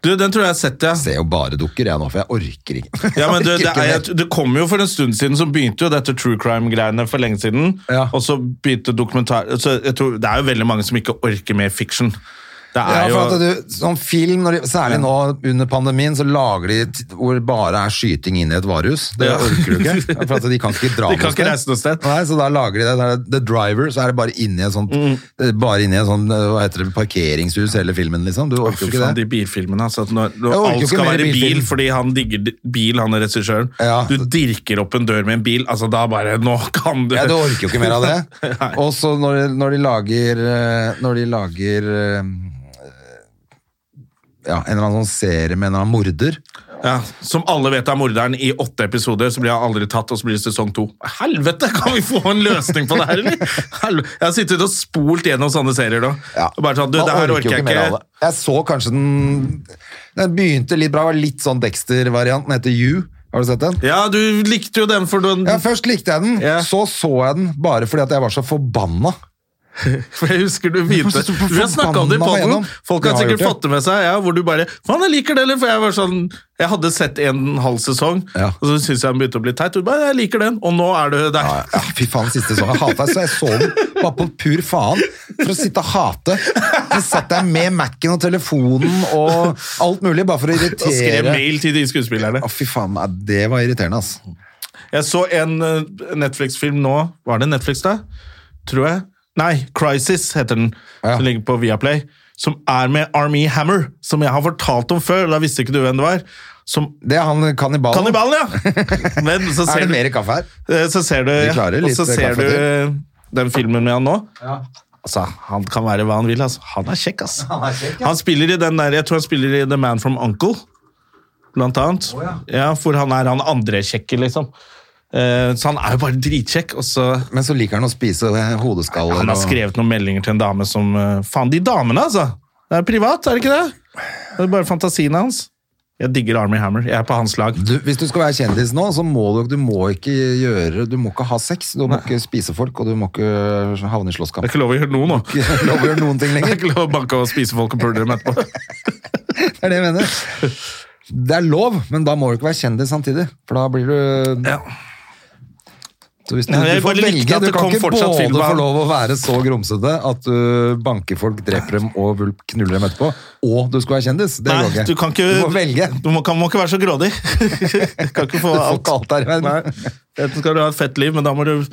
S2: Du, den tror jeg jeg har sett, ja.
S1: ser jo bare dukker jeg nå, for jeg orker ikke.
S2: Ja, men du,
S1: Jeg
S2: det,
S1: orker
S2: er,
S1: ikke
S2: jeg- det kom jo for en stund siden, så begynte jo dette true crime-greiene for lenge siden.
S1: Ja.
S2: Og så begynte dokumentar... Så jeg tror, det er jo veldig mange som ikke orker mer fiction. Det
S1: mer.
S2: er
S1: ja,
S2: jo...
S1: for at du, sånn film, når de, Særlig nå under pandemien, så lager de t- hvor bare er skyting inn i et varehus. Det
S2: Ja.
S1: orker du ikke. Ja, For at de kan ikke dra
S2: De kan ikke reise noe sted.
S1: Nei, så da lager de det. Der, The Driver, så er det bare inni et sånt
S2: Mm.
S1: eh, Bare inni et sånt eh, hva heter det, parkeringshus hele filmen, liksom. Du orker
S2: Fy
S1: jo ikke
S2: faen,
S1: det.
S2: de bilfilmene. Altså, at når,
S1: Jeg
S2: når
S1: orker jo
S2: alt
S1: ikke
S2: skal
S1: mer
S2: være bil
S1: bilfilm.
S2: fordi han digger di- bil, han er regissøren.
S1: Ja.
S2: Du dirker opp en dør med en bil, altså da bare Nå kan du
S1: Ja, Du orker jo ikke mer av det.
S2: Nei.
S1: Og så når, når de lager eh, Når de lager eh, ja, En eller annen sånn serie med en eller annen morder.
S2: Ja, som alle vet er morderen i åtte episoder, så blir han aldri tatt, og så blir det sesong to. Helvete, kan vi få en løsning på det her, eller? Helv- Jeg har sittet og spolt gjennom sånne serier nå.
S1: Ja.
S2: Og Bare sånn, du,
S1: Man
S2: det her
S1: orker jo
S2: orker jeg
S1: ikke mer av
S2: ikke.
S1: det. Jeg så kanskje den Den begynte litt bra, var litt sånn Dexter-varianten, heter You. Har du sett den?
S2: Ja, du likte jo den, for du
S1: Ja, først likte jeg den,
S2: Ja.
S1: så så jeg den bare fordi at jeg var så forbanna.
S2: For jeg husker du begynte
S1: Jeg synes du var
S2: Vi har snakka om det i
S1: forbanna
S2: podden.
S1: igjennom.
S2: Folk har
S1: Jeg har
S2: sikkert
S1: gjort det.
S2: fått det med seg, ja, hvor du bare Faen, jeg liker det, eller? For jeg var sånn Jeg hadde sett en halv sesong,
S1: Ja.
S2: og så syntes jeg den begynte å bli teit. Og du bare Jeg liker den, og nå er du der.
S1: Ja, fy faen, siste sesongen. Jeg hatet, så jeg så den bare på pur faen. For å sitte og hate. Så satt jeg med Mac-en og telefonen og alt mulig, bare for å
S2: Og
S1: irritere.
S2: skrev mail til de skuespillerne.
S1: Å, fy faen, nei, det var irriterende, altså.
S2: Jeg så en eh, Netflix-film nå. Var det Netflix, da? Tror jeg. Nei, Crisis heter den.
S1: Ja.
S2: Som ligger på Viaplay. Som er med Army Hammer, som jeg har fortalt om før. Da visste ikke du hvem det var. Som
S1: Det er han kannibalen.
S2: Kannibalen, ja! Men så
S1: Er
S2: ser
S1: det
S2: du,
S1: mer kaffe her?
S2: eh, så ser du,
S1: Vi klarer
S2: og
S1: litt
S2: så
S1: kaffe
S2: ser du eh, den filmen med han nå. Altså, Han kan være hva han vil. Altså. Han er kjekk, ass. Han, spiller i den der, jeg tror han spiller i The Man from Uncle, blant annet. ja. For han er han andre kjekke, liksom. Eh, så han er jo bare dritkjekk. Og så
S1: Men så liker han å spise eh, hodeskaller.
S2: han har
S1: og-
S2: skrevet noen meldinger til en dame som eh, Faen, de damene, altså! Det er privat, er det ikke det? Det er bare fantasien hans. Jeg digger Army Hammer. Jeg er på hans lag.
S1: Du, hvis du skal være kjendis nå, så må du, du må ikke gjøre Du må ikke ha sex, du må ikke spise folk, og du må ikke havne i slåsskamp.
S2: Det er ikke lov å gjøre noe nå.
S1: Det er ikke lov å gjøre noen ting
S2: Det
S1: lenger.
S2: er ikke lov å banke og spise folk og pule dem etterpå.
S1: Det er det jeg mener. Det er lov, men da må du ikke være kjendis samtidig. For da blir du
S2: Ja.
S1: Så hvis du,
S2: Nei, jeg
S1: du får
S2: bare likte
S1: velge.
S2: at
S1: Du
S2: det
S1: kan
S2: kom
S1: ikke både
S2: fortsatt film av-
S1: få lov å være så grumsete at du banker folk, dreper dem og vul- knuller dem etterpå, og du skal være kjendis. Det
S2: Nei,
S1: går ikke.
S2: du kan ikke
S1: Du må velge.
S2: Du må, kan, må ikke være så grådig. Du kan ikke få
S1: Du får
S2: alt.
S1: ikke alt der i verden.
S2: Nei. Enten skal du ha et fett liv, men da må du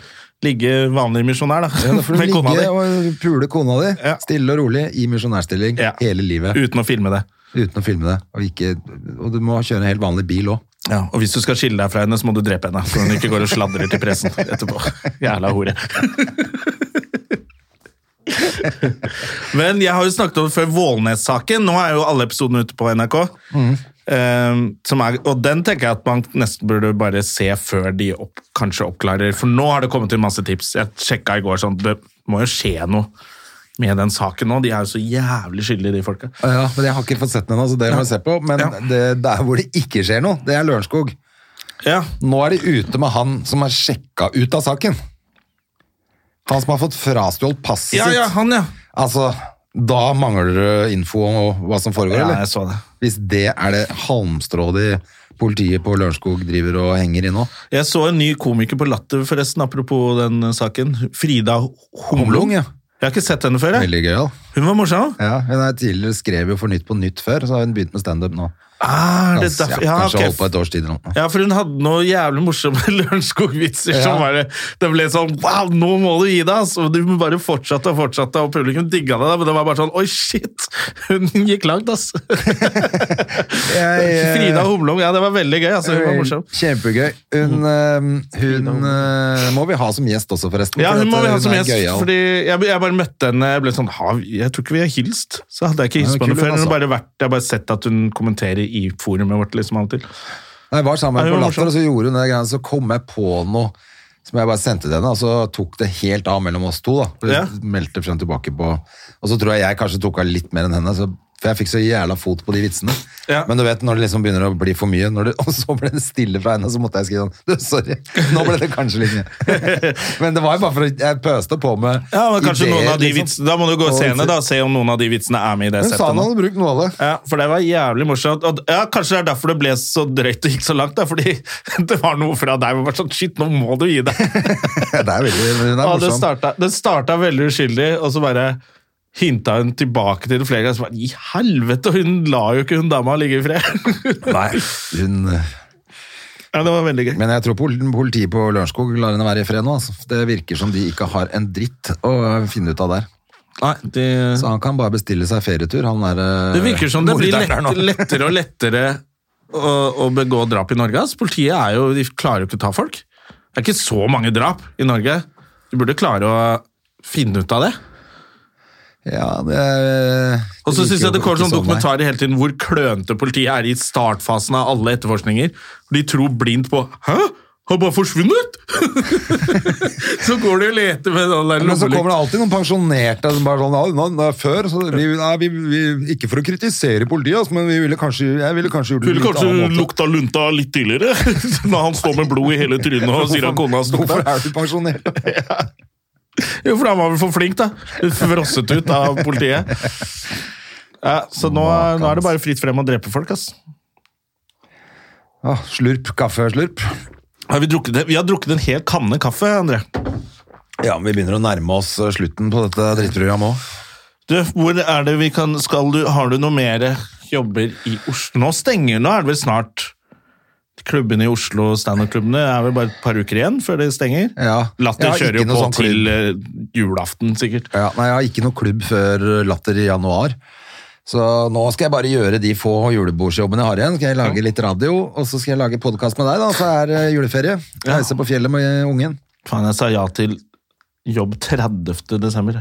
S2: ligge vanlig misjonær, da.
S1: Ja, da får du
S2: Med kona
S1: ligge
S2: di.
S1: og pule kona di,
S2: Ja.
S1: stille og rolig, i misjonærstilling
S2: Ja.
S1: hele livet.
S2: Uten å filme det.
S1: Uten å filme det. Og, ikke, og du må kjøre en helt vanlig bil òg.
S2: Ja, og hvis du skal skille deg fra henne, så må du drepe henne. Så hun ikke går og sladrer til pressen etterpå. Jævla hore. Men jeg har jo snakket om det før Vålnes-saken. Nå er jo alle episodene ute på NRK. Eh, som er, og den tenker jeg at man nesten burde bare se før de opp, kanskje oppklarer. For nå har det kommet inn masse tips. Jeg sjekka i går sånn Det må jo skje noe med den saken nå. De er jo så jævlig skyldige, de folka.
S1: Ja, men Jeg har ikke fått sett den ennå, så det må jeg se på. Men
S2: Ja.
S1: det, der hvor det ikke skjer noe, det er Lørenskog.
S2: Ja,
S1: Nå er de ute med han som er sjekka ut av saken. Han som har fått frastjålet passet
S2: ja, ja
S1: sitt.
S2: han, ja.
S1: Altså, da mangler det info om hva som foregår,
S2: ja. Jeg
S1: eller?
S2: så det.
S1: Hvis det er det halmstrådet politiet på Lørenskog driver og henger i nå.
S2: Jeg så en ny komiker på Latter, forresten, apropos den eh, saken. Frida
S1: Humlung,
S2: Homlung.
S1: ja.
S2: Jeg har ikke sett henne før. jeg.
S1: Veldig gøyal.
S2: Hun var morsom.
S1: Ja, hun er tidligere skrev jo for Nytt på Nytt før, så har hun begynt med standup nå.
S2: Ah, det er
S1: Kanskje,
S2: derfor-
S1: ja,
S2: ja,
S1: kanskje
S2: ok.
S1: holdt på et års tid eller noe.
S2: Ja, for hun hadde noen jævlig morsomme Lørenskog-vitser som
S1: Ja.
S2: bare Det ble sånn Wow, nå må du gi deg, altså! Og Du bare fortsatte og fortsatte, og publikum digga det, da, men det var bare sånn Oi, shit! Hun gikk langt, ass! eh,
S1: eh.
S2: Frida Homlung, ja, det var veldig gøy. altså, Hun var morsom. Mm.
S1: Kjempegøy. Hun, eh, hun eh, må vi ha som gjest også, forresten.
S2: Ja,
S1: for
S2: hun
S1: at,
S2: må vi
S1: eh,
S2: ha som
S1: er
S2: gjest,
S1: gøyal.
S2: fordi jeg, jeg bare møtte henne, jeg ble sånn, «Ha, jeg tror ikke vi har hilst, så hadde jeg ikke hilst
S1: Nei,
S2: på henne
S1: kul,
S2: før, hun
S1: altså.
S2: har bare vært, jeg har bare sett at hun kommenterer i forumet vårt, liksom av og til.
S1: Nei, Jeg var sammen
S2: Ja,
S1: på
S2: hun var
S1: Latter, og så gjorde hun det greiene, så kom jeg på noe som jeg bare sendte til henne, og så tok det helt av mellom oss to. da. Vi
S2: Ja.
S1: Meldte frem og tilbake på, og så tror jeg jeg kanskje tok av litt mer enn henne, så, for jeg fikk så jævla fot på de vitsene.
S2: Ja.
S1: Men du vet, når det liksom begynner å bli for mye, når det, og så ble det stille fra henne, så måtte jeg skrive sånn, du, sorry, nå ble det kanskje litt mye. men det var jo bare for å, jeg pøste på med
S2: Ja, men kanskje
S1: ideer,
S2: noen av de
S1: liksom.
S2: vitsene, da må du gå og
S1: Og
S2: se henne
S1: vitser.
S2: da, og se om noen av de vitsene er med i det
S1: Hun sa
S2: settet
S1: hun
S2: nå.
S1: hadde brukt noe av det.
S2: Ja, for det var jævlig morsomt. Og, ja, kanskje det er derfor det ble så drøyt og gikk så langt, da, fordi det var noe fra deg, hvor det var sånn, shit, nå må du gi deg.
S1: det er veldig, men hun er
S2: Ja, det
S1: morsom.
S2: starta, det starta veldig uskyldig, og så bare hinta hun tilbake til det flere ganger. Så bare, I helvete, hun la jo ikke hun dama ligge i fred!
S1: Nei, hun...
S2: ja, det var veldig gøy.
S1: Men jeg tror pol- politiet på Lørenskog lar henne være i fred nå. Altså. Det virker som de ikke har en dritt å finne ut av der.
S2: Nei, det,
S1: Så han kan bare bestille seg ferietur. Han er, Sånn, eh,
S2: det virker som det blir
S1: morderen her
S2: lett,
S1: nå.
S2: lettere og lettere å, å begå drap i Norge. ass. Politiet er jo, de klarer jo ikke å ta folk. Det er ikke så mange drap i Norge. De burde klare å finne ut av det.
S1: Ja, det,
S2: Og så synes jeg det kommer
S1: virker jo ikke
S2: sånn
S1: nei.
S2: dokumentarer hele tiden hvor klønete politiet er i startfasen av alle etterforskninger. De tror blindt på Hæ? Har bare forsvunnet? så går de og leter med den der
S1: Men så kommer
S2: lommelykt.
S1: det alltid noen pensjonerte som bare sånn «Ja, nå, nå, Før så vi, nei, vi, vi, Ikke for å kritisere politiet, altså, men vi ville kanskje, jeg ville kanskje gjort det
S2: Ville
S1: litt
S2: kanskje
S1: annen måte.
S2: lukta lunta litt tidligere, når han står med blod i hele trynet og sier at kona
S1: Hvorfor
S2: stopper.
S1: er du pensjonert?
S2: Jo, for han var vel for flink, da. Frosset ut av politiet. Ja, så nå, nå er det bare fritt frem å drepe folk, ass.
S1: Åh, slurp, kaffeslurp.
S2: Har vi, drukket, det? vi har drukket en hel kanne kaffe, André.
S1: Ja, men vi begynner å nærme oss eh, slutten på dette drittprogrammet òg.
S2: Du, hvor er det vi kan Skal du Har du noe mer jobber i Oslo? Nå stenger Nå er det vel snart Klubbene i Oslo, standup-klubbene, er vel bare et par uker igjen før det stenger?
S1: Ja.
S2: Latter
S1: Jeg har
S2: kjører jo
S1: ikke
S2: på
S1: noe sånn
S2: til eh, julaften, sikkert.
S1: Ja, nei, jeg har ikke noe klubb før Latter i januar. Så nå skal jeg bare gjøre de få julebordsjobbene jeg har igjen. Skal jeg lage litt radio, og så skal jeg lage podkast med deg, da. Så er det juleferie. Reise på fjellet med ungen.
S2: Faen, jeg sa ja til jobb 30. desember.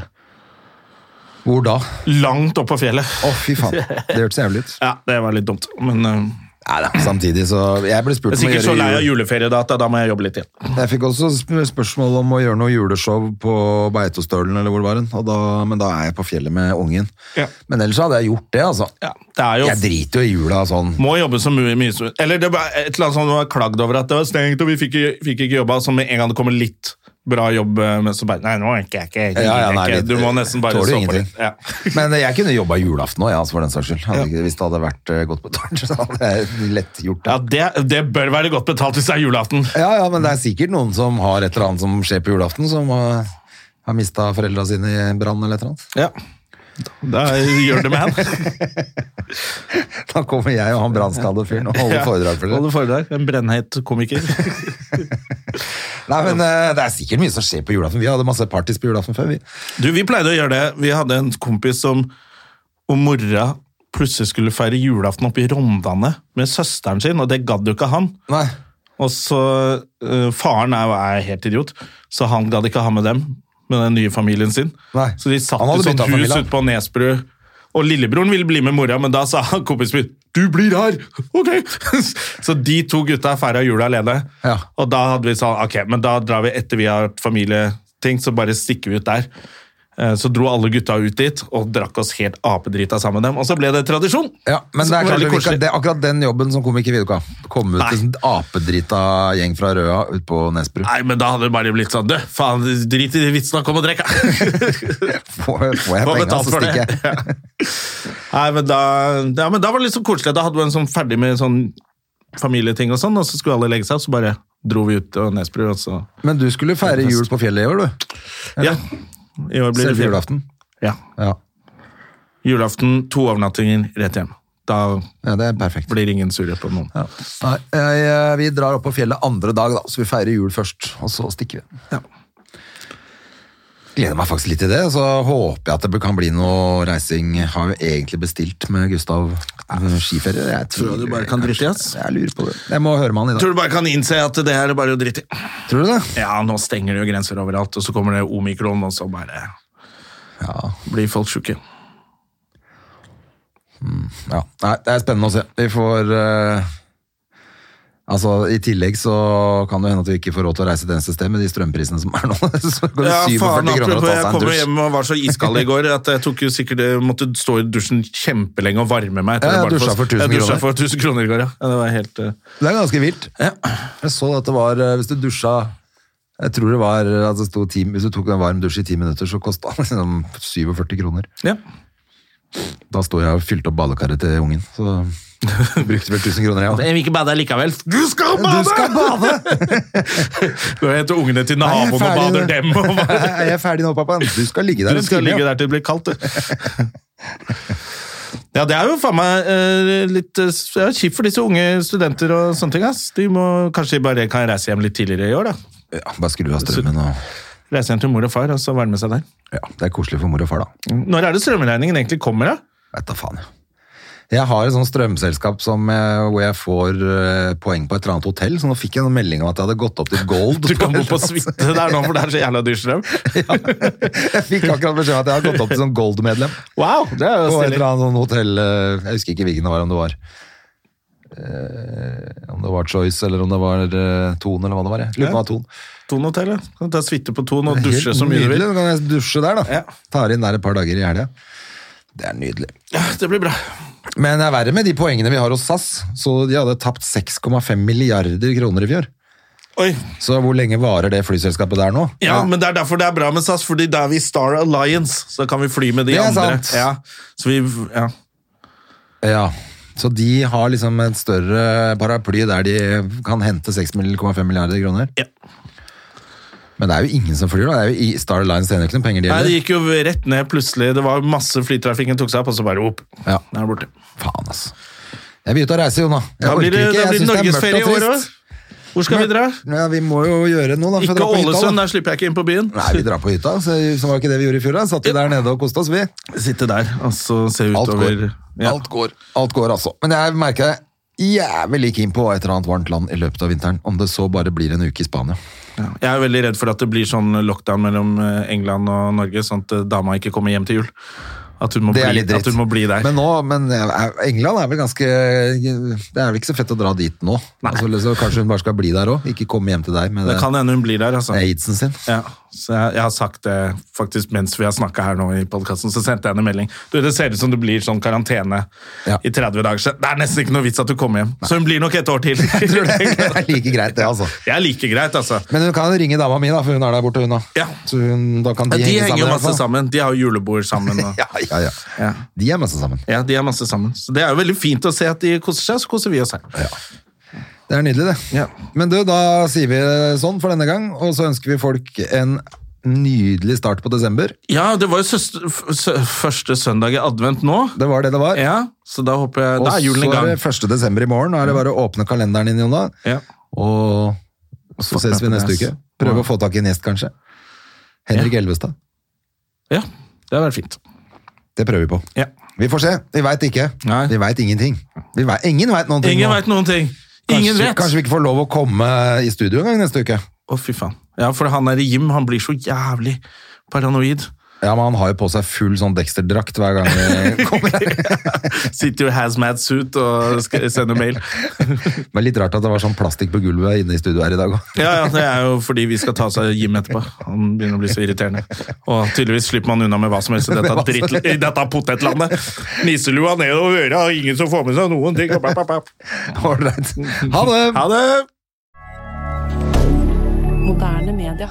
S1: Hvor da?
S2: Langt opp på fjellet.
S1: Å, fy faen. Det hørtes jævlig ut.
S2: Ja, det var litt dumt, men eh,
S1: Nei da, samtidig så Jeg ble spurt om
S2: jeg er
S1: å
S2: sikkert så lei
S1: gjøre
S2: av
S1: jul.
S2: juleferiedata, da må jeg jobbe litt igjen.
S1: Jeg fikk også sp- spørsmål om å gjøre noe juleshow på Beitostølen, eller hvor det var hen. Og da- Men da er jeg på fjellet med ungen.
S2: Ja.
S1: Men ellers hadde jeg gjort det, altså.
S2: Ja, det er jo
S1: Jeg driter jo i jula sånn.
S2: Må jobbe så mye, mye som Eller det var et eller annet sånn, det var klagd over at det var stengt, og vi fikk, ikke- fikk ikke jobba. Så med en gang det kommer litt bra jobb, eh, men så bare Nei, nå orker jeg ikke. Jeg gidder
S1: Ja, ja, nei,
S2: ikke.
S1: det-
S2: du må nesten bare
S1: tåler
S2: stå på
S1: ingenting.
S2: litt. Ja.
S1: Men jeg kunne jobba julaften òg, ja, altså, for den saks skyld. Hadde ikke, hvis det hadde vært eh, godt betalt, så hadde jeg lett gjort det.
S2: ja, det, det bør være godt betalt hvis det er julaften.
S1: Ja, ja, men det er sikkert noen som har et eller annet som skjer på julaften, som har, har mista foreldra sine i en brann eller et eller annet.
S2: Ja. Da gjør det med han.
S1: Da kommer jeg og han brannskadde fyren og holder foredrag for
S2: Holde
S1: dere.
S2: foredrag. En brennheit komiker.
S1: Nei, men eh, det er sikkert mye som skjer på julaften. Vi hadde masse parties på julaften før, vi.
S2: Du, vi pleide å gjøre det. Vi hadde en kompis som om mora plutselig skulle feire julaften oppe i Rondane med søsteren sin, og det gadd jo ikke han.
S1: Nei.
S2: Og så eh, Faren er, er helt idiot, så han gadd ikke ha med dem. Med den nye familien sin.
S1: Nei.
S2: Så de satt
S1: Han
S2: i
S1: hadde
S2: sånt
S1: byttet
S2: hus
S1: familie.
S2: ute på Nesbru. Og lillebroren ville bli med mora, men da sa han kompisen min 'du blir her'! Ok! Så de to gutta feira jula alene.
S1: Ja.
S2: Og da hadde vi sånn Ok, men da drar vi etter vi har hatt familieting, så bare stikker vi ut der. Eh, Så dro alle gutta ut dit og drakk oss helt apedrita sammen med dem. Og så ble det tradisjon!
S1: Ja, men
S2: Så
S1: det er klart
S2: veldig
S1: vi kan-
S2: koselig.
S1: det er akkurat den jobben som komiker vil ikke ha. Komme ut
S2: Nei.
S1: til en apedrita gjeng fra Røa ut på Nesbru.
S2: Nei, men da hadde det bare blitt sånn Du, faen, drit i de vitsene, kom og drikk!
S1: Får, får jeg
S2: Få
S1: penga,
S2: betalt
S1: så
S2: for det.
S1: stikker jeg.
S2: Nei, men da, ja, men da var det litt sånn koselig. Da hadde vi en sånn ferdig med sånn familieting og sånn, og så skulle alle legge seg, og så bare dro vi ut til Nesbru, og så
S1: Men du skulle feire jul på fjellet i år, du.
S2: Ja. I år blir det
S1: Selve
S2: fint.
S1: julaften.
S2: Ja.
S1: Ja.
S2: Julaften, to overnattinger, rett hjem. Da
S1: ja, det er perfekt.
S2: blir ingen sure på noen.
S1: Ja. Nei, jeg, eh, vi drar opp på fjellet andre dag, da, så vi feirer jul først, og så stikker vi.
S2: Ja.
S1: Gleder meg faktisk litt til det, og så håper jeg at det kan bli noe reising. Jeg Har jo egentlig bestilt med Gustav eh, skiferie. Jeg
S2: Tror du bare kan drite i, ass?
S1: Jeg lurer på det. Jeg må høre med han i dag.
S2: Tror du bare kan innse at det her er bare å drite i.
S1: Tror du det?
S2: Ja, nå stenger det jo grenser overalt, og så kommer det omikron, og så bare
S1: Ja.
S2: blir folk sjuke.
S1: Ja, nei, det er spennende å se. Vi får eh, Altså, I tillegg så kan det hende at vi ikke får råd til å reise til neste sted med de strømprisene som er nå. Så går det
S2: Ja,
S1: 47
S2: faen,
S1: kroner å
S2: apropos,
S1: ta
S2: jeg
S1: seg en
S2: kom jo
S1: dusj.
S2: hjem og var så iskald i går at jeg tok jo sikkert, jeg måtte stå i dusjen kjempelenge og varme meg. etter
S1: Ja, jeg dusja
S2: Bardufoss.
S1: for 1000
S2: Jeg dusja
S1: kroner.
S2: for 1000 kroner i går, ja. ja det var helt... eh,
S1: Det er ganske vilt. Jeg så at det var eh, Hvis du dusja jeg tror det var eh, at det sto ti, Hvis du tok en varm dusj i ti minutter, så kosta det liksom 47 kroner.
S2: Ja.
S1: Da sto jeg og fylte opp badekaret til ungen, så brukte vel 1000 kroner, jeg òg.
S2: Jeg vil ikke bade likevel. Du skal bade!
S1: Du skal bade!
S2: Du heter ungene til
S1: Nei, jeg er
S2: naboen og
S1: ferdig nå.
S2: bader dem. Og bare,
S1: Er jeg ferdig nå, pappa? Du skal ligge der
S2: du skal ligge der til det blir kaldt, du. Ja, det er jo faen meg eh, litt eh, ja, kjipt for disse unge studenter og sånne ting, ass. De må kanskje bare kan reise hjem litt tidligere i år, da.
S1: Ja, bare skru av strømmen og
S2: Reise hjem til mor og far, og så varme seg der.
S1: Ja, det er koselig for mor og far, da.
S2: Når er det strømregningen egentlig kommer, da?
S1: Vet da faen, jeg. Jeg har et sånt strømselskap som, eh, hvor jeg får eh, poeng på et eller annet hotell, så nå fikk jeg en melding om at jeg hadde gått opp til gold.
S2: Du kan bo på
S1: et eller
S2: suite der nå, for det er så jævla dyr strøm.
S1: annet- Ja. Jeg fikk akkurat beskjed om at jeg har gått opp til sånn gold-medlem
S2: Wow, det
S1: på
S2: er jo
S1: et eller
S2: stilig.
S1: annet sånn hotell eh, Jeg husker ikke hvilken det var, om det var eh, Om det var Choice, eller om det var eh, Tone, eller hva det var. Jeg lurer på om det var Tone.
S2: Tonhotellet. Kan ta suite på Ton og dusje
S1: Helt
S2: så mye du vil.
S1: Nydelig, da kan jeg dusje der, da.
S2: Ja.
S1: Tar inn der et par dager i helga. Det er nydelig.
S2: Ja, det blir bra.
S1: Men det er verre med de poengene vi har hos SAS. Så de hadde tapt 6,5 milliarder kroner i fjor.
S2: Oi,
S1: Så hvor lenge varer det flyselskapet der nå?
S2: Ja, men det er derfor det er bra med SAS, fordi da er vi Star Alliance, så kan vi fly med de
S1: Det er
S2: andre.
S1: sant.
S2: Ja. Så vi, ja.
S1: Ja, så de har liksom et større paraply der de kan hente 6,5 milliarder kroner?
S2: Ja.
S1: Men det er jo ingen som flyr, da. Det er jo i- Star Alliance tjener jo ikke noen penger, de
S2: Nei,
S1: heller.
S2: det gikk jo rett ned plutselig. Det var masse flytrafikken tok seg opp, og så bare opp.
S1: Ja.
S2: Der borte.
S1: Faen, ass. Jeg begynte å reise, Jona. Jeg
S2: Da blir det, da blir det norgesferie i år òg. Hvor skal vi dra?
S1: Ja, vi må jo gjøre noe, da. for å
S2: Ikke
S1: dra på hytta, da.
S2: Ålesund, der slipper jeg ikke inn på byen.
S1: Nei, vi drar på hytta, så, så var det ikke det vi gjorde i fjor. da. Satt vi der nede og koste oss, vi.
S2: Sitte der og så se
S1: Alt
S2: utover
S1: går. Alt går. Alt går, altså. Men jeg merker jeg er jævlig keen på et eller annet varmt land i løpet av vinteren. Om det så bare blir en uke i Spania.
S2: Ja. Jeg er veldig redd for at det blir sånn lockdown mellom eh, England og Norge, sånn at eh, dama ikke kommer hjem til jul. At hun må,
S1: Det er
S2: bli,
S1: litt dritt.
S2: at hun må bli der.
S1: Men, nå, men eh, England er vel ganske Det er vel ikke så fett å dra dit nå. Altså, så kanskje hun bare skal bli der òg? Ikke komme hjem til deg med
S2: det kan hende hun blir der, altså.
S1: aidsen sin.
S2: Ja, så jeg, jeg har sagt det faktisk mens vi har snakka her nå i podkasten, så sendte jeg henne en melding. Du, det ser ut som det blir sånn karantene
S1: Ja.
S2: i 30 dager. Så det er nesten ikke noe vits at du kommer hjem. Så hun blir nok et år til. jeg
S1: Tror det er like greit, det, altså.
S2: Det er like greit, altså.
S1: Men hun kan ringe dama mi, da, for hun er der borte, hun da.
S2: Ja.
S1: Så hun, da kan
S2: Ja,
S1: de,
S2: de
S1: henge
S2: henger
S1: sammen. i
S2: jo
S1: hvert
S2: masse
S1: fall.
S2: sammen. De har jo julebord sammen. Og,
S1: Ja, ja, ja.
S2: ja.
S1: De er masse sammen.
S2: ja, de er masse sammen. Så det er jo veldig fint å se at de koser seg, så koser vi oss her.
S1: Det er nydelig, det.
S2: Ja.
S1: Men du, da sier vi sånn for denne gang, og så ønsker vi folk en nydelig start på desember.
S2: Ja, det var jo søster, f- sø, første søndag i advent nå.
S1: Det var det det var.
S2: Ja, så da håper jeg Da er julen i
S1: Og så
S2: gang.
S1: er det 1. desember i morgen. Nå er det bare å åpne kalenderen din, Jonna.
S2: Ja.
S1: Og så ses vi neste uke. Prøve å få tak i en gjest, kanskje. Henrik Elvestad.
S2: ja, det hadde vært fint.
S1: Det prøver vi på.
S2: Ja.
S1: Vi får se. Vi veit ikke.
S2: Nei.
S1: Vi veit ingenting. Vi vet, ingen veit noen ting.
S2: Ingen
S1: nå.
S2: veit noen ting.
S1: Kanskje,
S2: Ingen vet.
S1: kanskje vi ikke får lov å komme i studio engang neste uke.
S2: Å, fy faen. Ja, for han der Jim, han blir så jævlig paranoid.
S1: Ja, men han har jo på seg full sånn Dexter-drakt hver gang vi kommer her.
S2: Sitter jo i hazmat suit og skal sende mail.
S1: Men litt rart at det var sånn plastikk på gulvet inne i studio her i dag òg.
S2: Ja, ja, det er jo fordi vi skal ta oss av Jim etterpå. Han begynner å bli så irriterende. Og tydeligvis slipper man unna med hva som helst i dette, dritt, i dette potetlandet. Nisselua ned over øra, og ingen som får med seg noen ting. Bap, bap, bap.
S1: Ålreit. Ha det!
S2: Ha det!
S3: Moderne media.